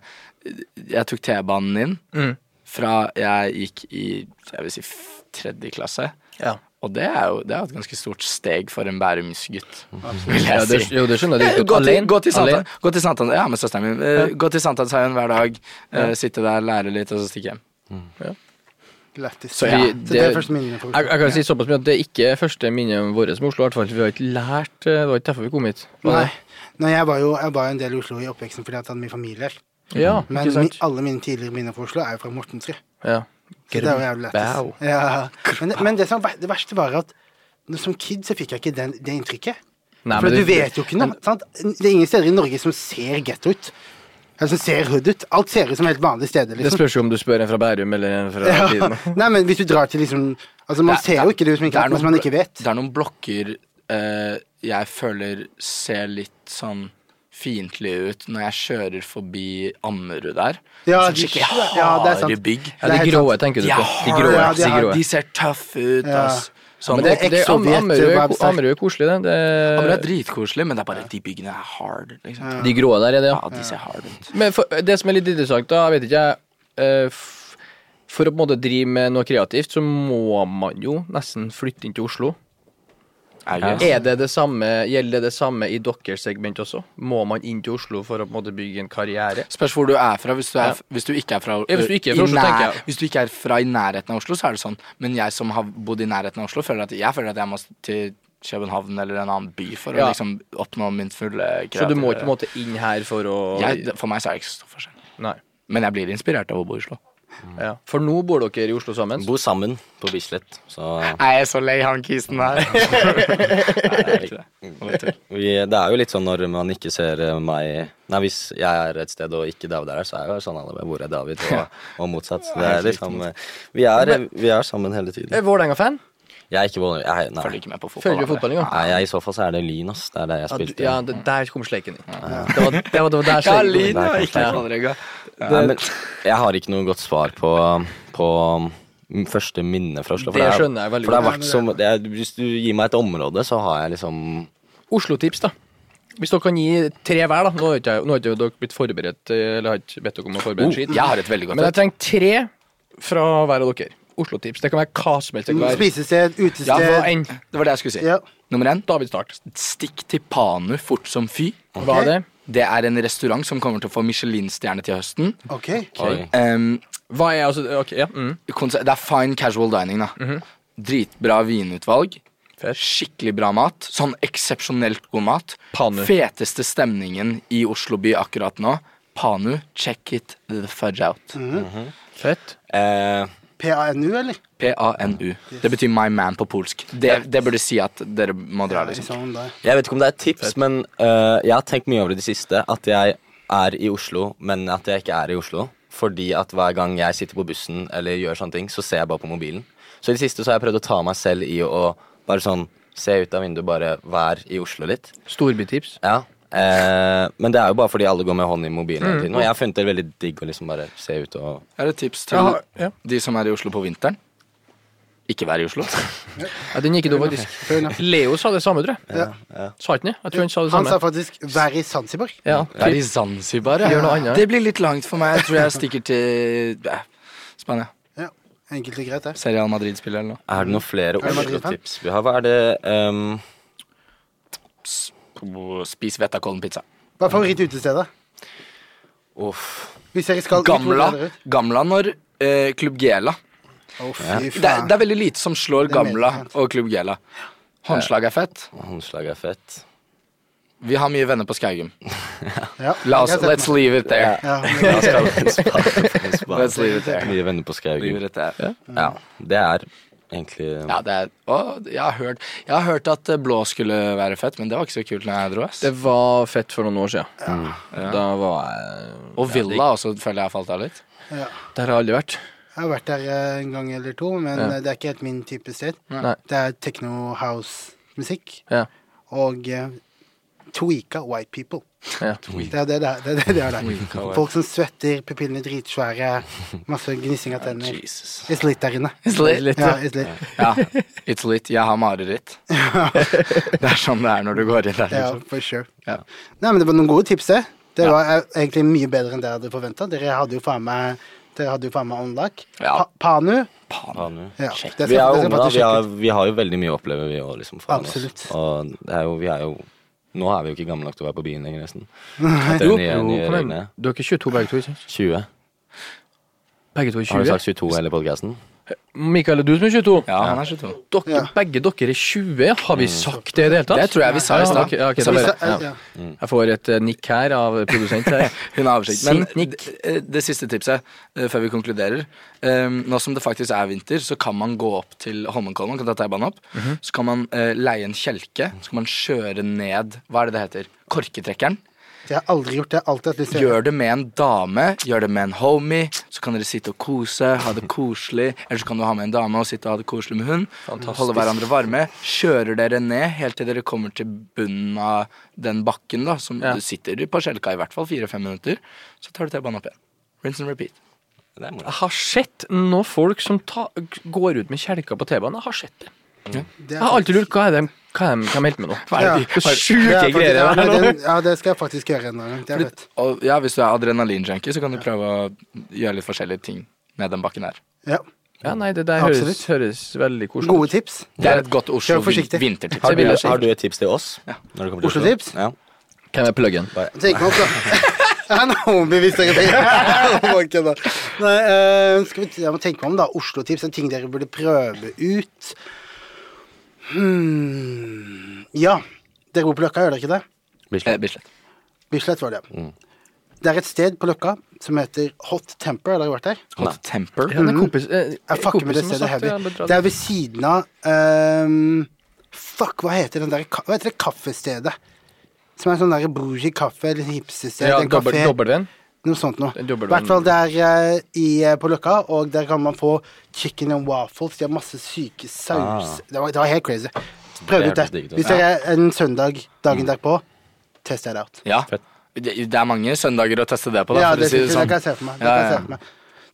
Speaker 3: jeg tok T-banen inn
Speaker 1: Mm.
Speaker 3: fra jeg gikk i jeg vil si f- tredje klasse.
Speaker 1: ja.
Speaker 3: Og det er jo det er jo et ganske stort steg for en bærumsgutt, vil
Speaker 1: Ja,
Speaker 3: jeg
Speaker 1: det,
Speaker 3: si.
Speaker 1: jo, det skjønner jeg.
Speaker 3: Gå til,
Speaker 1: Alene-
Speaker 3: gå til
Speaker 1: alene.
Speaker 3: Sankthan- gå til Sankthan- ja, med søsteren min. Eh, Gå til Sankthanshaugen hver dag, eh, sitte der, lære litt, og så stikke hjem.
Speaker 4: Lættis.
Speaker 3: Så
Speaker 4: Så,
Speaker 3: ja,
Speaker 4: det er
Speaker 1: det-
Speaker 4: første minnene for
Speaker 1: Jeg, jeg kan si såpass mye at det er ikke første minnet vårt med Oslo. I hvert fall, for vi har ikke lært eh, Det var ikke derfor vi kom hit. Var
Speaker 4: Nei.
Speaker 1: det?
Speaker 4: Nei, jeg var jo jeg var jo en del i Oslo i oppveksten fordi jeg hadde mye familie her.
Speaker 1: Ja,
Speaker 4: Men
Speaker 1: ikke
Speaker 4: mi,
Speaker 1: sant?
Speaker 4: alle mine tidligere minner fra Oslo er jo fra Mortensrud.
Speaker 1: Ja.
Speaker 4: Så det er jo jævlig
Speaker 1: Grønbau.
Speaker 4: lættis. Ja. Men, men det, som, var- det verste var at når- som kid så fikk jeg ikke den, det inntrykket.
Speaker 1: Nei,
Speaker 4: For
Speaker 1: men
Speaker 4: du vet jo ikke noe. Sant? Det er ingen steder i Norge som ser getto ut. Eller som ser hood ut. Alt ser ut som helt vanlige steder.
Speaker 1: Det
Speaker 4: Liksom.
Speaker 1: spørs jo om du spør en fra Bærum eller en fra
Speaker 4: Ja.
Speaker 1: Tiden.
Speaker 4: Nei, men hvis du drar til liksom Altså, man
Speaker 3: Det er-
Speaker 4: ser jo ikke det ut som
Speaker 3: det er
Speaker 4: ikke,
Speaker 3: noen
Speaker 4: mens man
Speaker 3: bl-
Speaker 4: ikke vet.
Speaker 3: Det er noen blokker eh, jeg føler ser litt sånn fiendtlig ut når jeg kjører forbi Ammerud der.
Speaker 4: Ja,
Speaker 3: sånn
Speaker 4: de-
Speaker 3: skikkelig
Speaker 4: ja, det er
Speaker 3: harde
Speaker 4: sant.
Speaker 3: bygg.
Speaker 1: Ja,
Speaker 4: Det er
Speaker 1: de
Speaker 4: helt
Speaker 1: gråe,
Speaker 4: sant.
Speaker 1: tenker du
Speaker 3: De
Speaker 1: på.
Speaker 3: er
Speaker 1: De
Speaker 3: harde,
Speaker 1: grå,
Speaker 4: ja,
Speaker 3: de,
Speaker 1: de
Speaker 3: er-
Speaker 1: grå.
Speaker 3: de ser tøffe ut,
Speaker 4: Ja.
Speaker 3: ass. Sånn,
Speaker 1: Men det,
Speaker 4: Det er
Speaker 1: det, Am-
Speaker 4: eks-Sovjet,
Speaker 1: Ammerud er
Speaker 4: var
Speaker 1: ko-
Speaker 4: sterkt.
Speaker 1: Ammerud er koselig, det.
Speaker 3: Ammerud er
Speaker 1: det
Speaker 3: dritkoselig, men det er bare de byggene er hard. Liksom.
Speaker 1: de grå der er det, ja.
Speaker 3: Ja, de ser hard ut.
Speaker 1: Men for, det som er litt interessant, da, jeg vet ikke jeg eh, f- For å på en måte drive med noe kreativt, så må man jo nesten flytte inn til Oslo.
Speaker 3: Er
Speaker 2: Ja.
Speaker 3: gøy.
Speaker 1: Er det det samme, gjelder det det samme i deres segment også? Må man inn til Oslo for å på en måte bygge en karriere?
Speaker 3: Spørs hvor du er fra. Hvis du, er,
Speaker 1: Ja.
Speaker 3: hvis du ikke er fra
Speaker 1: Ja, hvis du ikke er fra
Speaker 3: i
Speaker 1: Oslo,
Speaker 3: nær-
Speaker 1: tenker jeg.
Speaker 3: Hvis du ikke er fra i nærheten av Oslo, så er det sånn. Men jeg som har bodd i nærheten av Oslo, føler at jeg føler at jeg må til København eller en annen by for å
Speaker 1: Ja.
Speaker 3: liksom oppnå min fulle
Speaker 1: Så du må ikke på en måte inn her for å
Speaker 3: jeg, det- For meg så er det ikke så stor forskjell.
Speaker 1: Nei.
Speaker 3: Men jeg blir inspirert av å bo i Oslo.
Speaker 1: Ja. For nå bor dere i Oslo sammen?
Speaker 2: Bo sammen på Bislett, så
Speaker 3: Jeg er så lei han kisen der.
Speaker 2: vi, Det er jo litt sånn når man ikke ser eh, meg Nei, hvis jeg er et sted og ikke David er der, så er jeg jo sånn alle Hvor er David? Og, og motsatt. Så det er liksom eh, Vi er, vi er sammen hele tiden.
Speaker 1: Er Vålerenga-fan?
Speaker 2: Jeg er ikke Vålerenga. jeg- Nei.
Speaker 3: Følger ikke med på fotball.
Speaker 1: Følger du
Speaker 3: da,
Speaker 1: fotballen,
Speaker 3: eller?
Speaker 1: ja?
Speaker 2: Nei, jeg, I så fall så er det Lyn, ass. Det er der jeg
Speaker 1: Ja,
Speaker 2: spilte.
Speaker 1: du- ja det, der kom sleiken inn. Det var, det var, det var der
Speaker 3: Ja,
Speaker 1: sleiken
Speaker 3: Lyn, ja.
Speaker 2: Nei,
Speaker 3: Ikke Oh,
Speaker 2: nei.
Speaker 3: Fallrygga.
Speaker 2: Nei, men jeg har ikke noe godt svar på, på mm, første minne fra Oslo.
Speaker 1: Det
Speaker 2: er-
Speaker 1: skjønner jeg veldig
Speaker 2: for det har
Speaker 4: godt.
Speaker 2: vært som, det er, Hvis du gir meg et område, så har jeg liksom
Speaker 1: Oslo-tips, da. Hvis dere kan gi tre hver, da. Nå har ikke, jeg- nå har ikke dere blitt forberedt, eh, eller har ikke bedt dere om å forberede en
Speaker 3: Oh,
Speaker 1: skitt.
Speaker 3: jeg har et veldig godt
Speaker 1: Men jeg
Speaker 3: et.
Speaker 1: trenger tre fra hver av dere. Oslo-tips. Det kan være hva som helst. Det kan være
Speaker 4: Spisested,
Speaker 3: Ja, hva
Speaker 4: utested
Speaker 3: enn. Det var det jeg skulle si.
Speaker 4: Ja.
Speaker 3: Nummer én,
Speaker 1: David Start.
Speaker 3: stikk til Panu fort som fy.
Speaker 1: Hva er det?
Speaker 3: Det er en restaurant som kommer til å få Michelin-stjerne til høsten.
Speaker 4: Ok.
Speaker 2: Oi.
Speaker 3: Em,
Speaker 1: Hva er altså Ok, ja. Mm.
Speaker 3: konse- det er fine casual dining, da. Dritbra vinutvalg.
Speaker 1: Fett.
Speaker 3: Skikkelig bra mat. Sånn eksepsjonelt god mat.
Speaker 1: Panu.
Speaker 3: Feteste stemningen i Oslo by akkurat nå. Panu, check it the fudge out.
Speaker 1: Mm. Fett.
Speaker 2: eh,
Speaker 4: PANU, eller?
Speaker 3: P-a-n-u. Det betyr my man på polsk. Det, det burde si at dere må dra, liksom.
Speaker 4: Sånn, da.
Speaker 2: Jeg vet ikke om det er et tips, men eh, jeg har tenkt mye over det i det siste. At jeg er i Oslo, men at jeg ikke er i Oslo. Fordi at hver gang jeg sitter på bussen eller gjør sånne ting, så ser jeg bare på mobilen. Så i det siste så har jeg prøvd å ta meg selv i å bare sånn se ut av vinduet, bare være i Oslo litt.
Speaker 1: Storbytips.
Speaker 2: Ja. Eh, men det er jo bare fordi alle går med hånd i mobilen hele tiden. Og jeg har funnet det veldig digg å liksom bare se ut og
Speaker 3: Jeg har et tips til
Speaker 1: Jeg har- ja.
Speaker 3: de som er i Oslo på vinteren. Ikke vær i Oslo.
Speaker 1: Ja, den gikk jo da, faktisk.
Speaker 4: Fair enough.
Speaker 1: Leo sa det samme, tror jeg.
Speaker 4: Ja.
Speaker 1: Sa ikke han det? Jeg tror han sa det
Speaker 4: Han sa
Speaker 1: samme.
Speaker 4: faktisk 'vær i Zanzibar'.
Speaker 1: Ja,
Speaker 3: Vær i Zanzibar,
Speaker 1: Gjør noe annet.
Speaker 3: Det blir litt langt for meg. Jeg tror jeg stikker til eh, Spania.
Speaker 4: Ja. Enkelt og greit, det.
Speaker 3: Serial Madrid-spiller eller noe.
Speaker 2: Er det noen flere
Speaker 4: det Madrid-fan?
Speaker 2: Oslo-tips vi har? Hva er det ehm,
Speaker 3: Spis Vettakollen-pizza.
Speaker 4: Hva er favorittutestedet?
Speaker 2: Uff.
Speaker 4: Hvis dere skal
Speaker 3: Gamla,
Speaker 4: Hvor er dere?
Speaker 3: gamla når eh, Klubb Gela.
Speaker 4: Å, fy
Speaker 3: Det, er-
Speaker 4: faen.
Speaker 3: det er veldig lite som slår
Speaker 4: Det er
Speaker 3: Gamla
Speaker 4: mer sant.
Speaker 3: og Klubb Gela. Håndslag er fett.
Speaker 2: Håndslag er fett.
Speaker 3: Vi har mye venner på Skaugum.
Speaker 4: Ja,
Speaker 3: La oss,
Speaker 4: jeg har
Speaker 3: let's
Speaker 4: sett meg.
Speaker 3: leave it there.
Speaker 4: Ja, men-
Speaker 2: Da skal vi spare på en spade.
Speaker 3: Let's leave it there.
Speaker 2: Mye venner på
Speaker 3: Leave
Speaker 2: Skaugen.
Speaker 3: it there.
Speaker 2: Ja, det er egentlig
Speaker 3: Ja, det er, å, jeg, har hørt, jeg har hørt at eh, blå skulle være fett, men det var ikke så kult når jeg dro. ass
Speaker 1: Det var fett for noen år siden.
Speaker 3: Mm.
Speaker 1: Da var jeg
Speaker 3: Og Villa også føler jeg har falt av litt.
Speaker 4: ja.
Speaker 1: Der har jeg aldri vært.
Speaker 4: Jeg har vært der eh, en gang eller to, men
Speaker 1: Ja.
Speaker 4: eh, det er ikke helt min type sted.
Speaker 1: Nei.
Speaker 4: Det er techno-house-musikk
Speaker 1: Ja.
Speaker 4: og eh, tweaka white people.
Speaker 1: ja.
Speaker 4: Det er det det er. Det er, det det er der. Folk som svetter, pupillene dritsvære, masse gnissing av tenner.
Speaker 2: Jesus.
Speaker 4: It's lit der inne.
Speaker 3: It's lit.
Speaker 4: Ja, it's lit.
Speaker 3: Ja, it's lit. Jeg har mareritt. Det er sånn det er når du går inn der.
Speaker 4: Ja,
Speaker 3: Liksom.
Speaker 4: for sure.
Speaker 3: Ja.
Speaker 4: Nei, men det var noen gode tips, det. Det var eh, egentlig mye bedre enn det jeg hadde forventa. Dere hadde jo faen meg dere hadde jo faen meg unlock.
Speaker 3: Ja.
Speaker 4: Pa Panu.
Speaker 2: Ja, nå.
Speaker 4: Ja, det skal-
Speaker 2: Vi er jo
Speaker 4: det skal
Speaker 2: unge, da.
Speaker 4: faktisk
Speaker 2: Vi
Speaker 4: sjekke
Speaker 2: har,
Speaker 4: ut.
Speaker 2: vi har jo veldig mye å oppleve, vi òg. Liksom, foran oss.
Speaker 4: Absolutt.
Speaker 2: og det er jo, vi er jo Nå er vi jo ikke gamle nok til å være på byen lenger, nesten. Etter
Speaker 1: Jo,
Speaker 2: de nye, nye
Speaker 1: kom igjen.
Speaker 2: reglene.
Speaker 1: Du er ikke 22 begge to? ikke sant?
Speaker 2: 20.
Speaker 1: Begge to er 20?
Speaker 2: Har du sagt 22 i hele podkasten?
Speaker 1: Mikael, er du som er 22?
Speaker 3: Ja, han er 22.
Speaker 1: Dere,
Speaker 4: Ja.
Speaker 1: Begge dere er 20. ja. Har vi sagt det i det hele tatt?
Speaker 3: Det tror jeg vi sa i
Speaker 1: Ja,
Speaker 3: stad. Mm.
Speaker 1: ok, ja, ok,
Speaker 3: Så
Speaker 1: da
Speaker 3: vi
Speaker 1: bare-
Speaker 4: sa-
Speaker 1: ja.
Speaker 4: ja.
Speaker 1: Jeg får et eh, nikk her av produsent her.
Speaker 3: Hun har oversikt. Men
Speaker 1: Sint nikk.
Speaker 3: det, det siste tipset eh, før vi konkluderer eh, Nå som det faktisk er vinter, så kan man gå opp til Holmenkollen. Man kan ta T-banen opp. Så kan man eh, leie en kjelke. Så kan man kjøre ned Hva er det det heter? Korketrekkeren.
Speaker 4: Jeg har aldri gjort det. Jeg har alltid hatt lyst til å gjøre
Speaker 3: Gjør det med en dame, gjør det med en homie. Så kan dere sitte og kose, ha det koselig. Eller så kan du ha med en dame og sitte og ha det koselig med hun. Holde hverandre varme. Kjører dere ned helt til dere kommer til bunnen av den bakken, da. Som
Speaker 1: Ja.
Speaker 3: du sitter på skjelka i hvert fall fire-fem minutter. Så tar du T-banen opp igjen. Rinse and repeat.
Speaker 2: Det er moro.
Speaker 1: Jeg har sett noen folk som ta, går ut med kjelker på T-banen. Jeg har sett det.
Speaker 4: det.
Speaker 1: Jeg har alltid lurt hva er det hva er det de melder med nå. Hva
Speaker 4: Ja.
Speaker 1: er det de sjuke
Speaker 4: Det er
Speaker 1: greier
Speaker 4: faktisk-
Speaker 1: det
Speaker 4: ja,
Speaker 1: er nå?
Speaker 4: det- Ja, det skal jeg faktisk gjøre en gang. Det er fett.
Speaker 3: Og ja, hvis du er adrenalinjunkie, så kan du prøve å gjøre litt forskjellige ting med den bakken her.
Speaker 4: Ja.
Speaker 1: Ja, nei, det der høres,
Speaker 4: Absolutt.
Speaker 1: høres veldig koselig ut.
Speaker 4: Gode tips.
Speaker 3: Det er et godt Oslo
Speaker 4: Kjør forsiktig.
Speaker 3: vintertips.
Speaker 2: Har
Speaker 1: Det vil
Speaker 2: du,
Speaker 1: jeg si.
Speaker 2: har du et tips til oss? når det kommer til
Speaker 4: Oslo-tips?
Speaker 2: Ja.
Speaker 1: Hvem er pluggen?
Speaker 4: Tenk meg opp, da. Han er homie, hvis dere tenker Jeg må ikke da. Nei, eh, skal vi, jeg må tenke meg om, da. Oslo-tips er ting dere burde prøve ut. Hmm. Ja. Dere bor på Løkka, gjør dere ikke det?
Speaker 3: Eh, Bislett.
Speaker 4: Bislett var det.
Speaker 1: Mm.
Speaker 4: Det er et sted på Løkka som heter Hot Temper. Har dere vært der?
Speaker 3: Hot temper.
Speaker 1: Ja, det er kompis, eh,
Speaker 4: Mm. Jeg fucker med det
Speaker 1: kompisen har
Speaker 4: stedet
Speaker 1: sagt
Speaker 4: heavy.
Speaker 1: jeg bør dra
Speaker 4: Det
Speaker 1: dit.
Speaker 4: er ved siden av ehm, Fuck, hva heter, den der, ka- hva heter det kaffestedet? Som er sånn der bougie kaffe eller hipstersted.
Speaker 1: Ja,
Speaker 4: en
Speaker 1: dobbel-
Speaker 4: kafé.
Speaker 1: dobbelven.
Speaker 4: Noe sånt noe.
Speaker 1: En
Speaker 4: I
Speaker 1: dobbelvenn.
Speaker 4: hvert fall der eh, i, eh, på Løkka, og der kan man få chicken and waffles. De har masse syke
Speaker 3: Ah.
Speaker 4: saus. Det, var, det var helt crazy. Prøv
Speaker 2: Det
Speaker 4: ut det.
Speaker 2: hørtes digg ut.
Speaker 4: Hvis dere er en søndag
Speaker 3: Mm.
Speaker 4: dagen derpå, test det out.
Speaker 3: Ja.
Speaker 2: Fett.
Speaker 3: Det, det er mange søndager å teste det på, da,
Speaker 4: Ja,
Speaker 3: for
Speaker 4: det,
Speaker 3: å si det
Speaker 4: det
Speaker 3: sånn.
Speaker 4: kan jeg se for meg. Det
Speaker 3: Ja,
Speaker 4: kan jeg
Speaker 3: ja. Mm.
Speaker 4: se for meg.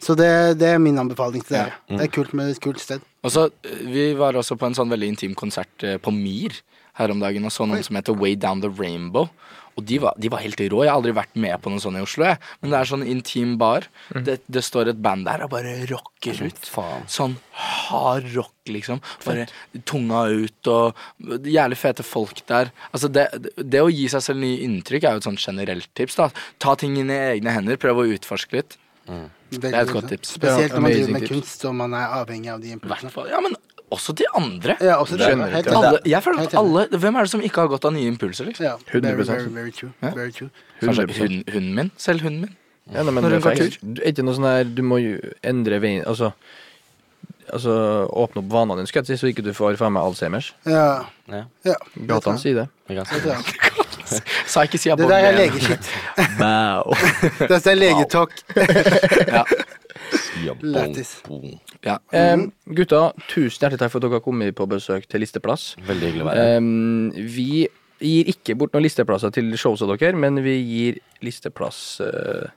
Speaker 4: Så det, det er min anbefaling til dere. Det er kult med et kult sted.
Speaker 3: Og så, eh, Vi var også på en sånn veldig intim konsert eh, på Mir her om dagen og så noen som heter Way Down the Rainbow. Og de var, de var helt rå. Jeg har aldri vært med på noen sånn i Oslo. Jeg. Men det er sånn intim bar. Det, det står et band der og bare rocker ut.
Speaker 2: faen.
Speaker 3: Sånn hard rock, liksom. Bare tunga ut og jævlig fete folk der. Altså det, det å gi seg selv nye inntrykk er jo et sånn generelt tips. da Ta ting inn i egne hender. Prøv å utforske litt.
Speaker 4: Veldig
Speaker 3: Det er et
Speaker 4: bra.
Speaker 3: godt tips.
Speaker 4: Spesielt når man
Speaker 1: Amazing
Speaker 4: driver med
Speaker 1: tips.
Speaker 4: kunst og man er avhengig av de impulsene.
Speaker 3: Ja, men også til andre.
Speaker 4: Ja, også det.
Speaker 1: Skjønner
Speaker 4: Helt
Speaker 1: ikke.
Speaker 4: enig.
Speaker 3: alle, jeg føler
Speaker 4: Eh, Helt
Speaker 3: at
Speaker 4: enig.
Speaker 3: alle Hvem er det som ikke har godt av nye impulser, liksom?
Speaker 4: ja, 100
Speaker 1: 100%
Speaker 4: very, very, very true.
Speaker 3: Ja.
Speaker 4: Very true.
Speaker 3: Kanskje
Speaker 1: 100%.
Speaker 3: hun, hunden min? Selv hunden min?
Speaker 1: Ja, nei, men
Speaker 3: Når
Speaker 1: det
Speaker 3: hun
Speaker 1: er
Speaker 3: går
Speaker 1: faktisk- du- ikke noe sånn her Du må jo endre veien Altså, altså åpne opp vanene dine, skal jeg si, så ikke du får faen meg Alzheimers.
Speaker 4: Ja.
Speaker 2: Ja.
Speaker 4: ja.
Speaker 1: Gatene sier det.
Speaker 2: vi kan
Speaker 4: Det
Speaker 2: se.
Speaker 4: tror jeg.
Speaker 3: Sa jeg ikke si
Speaker 4: Det der er
Speaker 3: abonnement?
Speaker 4: legeskitt.
Speaker 1: Wow.
Speaker 4: Det er sånn legetalk.
Speaker 2: Ja, boom,
Speaker 4: Lættis.
Speaker 2: boom.
Speaker 3: Ja.
Speaker 4: Mm.
Speaker 1: gutta, tusen hjertelig takk for at dere har kommet på besøk til Listeplass.
Speaker 2: Veldig hyggelig å være
Speaker 3: Eh,
Speaker 2: her.
Speaker 1: Em, Ehm, vi gir ikke bort noen listeplasser til showsa dere, men vi gir listeplass eh,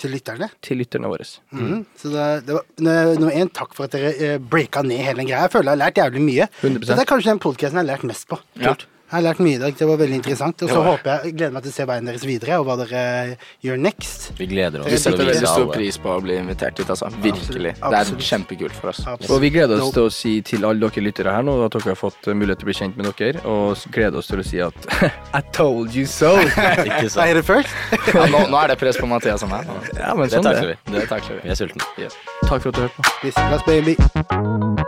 Speaker 4: Til lytterne.
Speaker 1: til lytterne våre.
Speaker 4: Mhm. Så det, det var nø- nummer én, takk for at dere eh, breaka ned hele den greia. Jeg føler jeg har lært jævlig mye.
Speaker 1: 100%.
Speaker 4: Dette er kanskje den podkasten jeg har lært mest på.
Speaker 3: Ja.
Speaker 4: Jeg har lært mye i dag, det var veldig interessant. Og
Speaker 3: Det
Speaker 4: så
Speaker 3: var det.
Speaker 4: håper jeg, jeg gleder meg til å se veien deres videre, og hva dere eh, gjør next.
Speaker 2: Vi gleder oss
Speaker 3: Vi
Speaker 2: til å
Speaker 3: setter veldig
Speaker 2: vise
Speaker 3: stor
Speaker 2: alle.
Speaker 3: pris på å bli invitert hit, altså. Virkelig. Det er
Speaker 4: Absolutt.
Speaker 3: kjempekult for oss.
Speaker 4: Absolutt.
Speaker 1: Og vi gleder oss til å si til alle dere lyttere her nå at dere har fått eh, mulighet til å bli kjent med dere, og s- gleder oss til å si at I told you so.
Speaker 2: Ikke
Speaker 4: I
Speaker 2: sant?
Speaker 4: heard it first.
Speaker 3: Ja, nå, nå er det press på Mathias og meg. nå.
Speaker 1: ja, men
Speaker 2: Det
Speaker 1: sånn det.
Speaker 2: takler vi.
Speaker 3: Det takler vi.
Speaker 2: Vi er sultne.
Speaker 1: Takk for at du hørte på.
Speaker 4: Visst, Glass baby.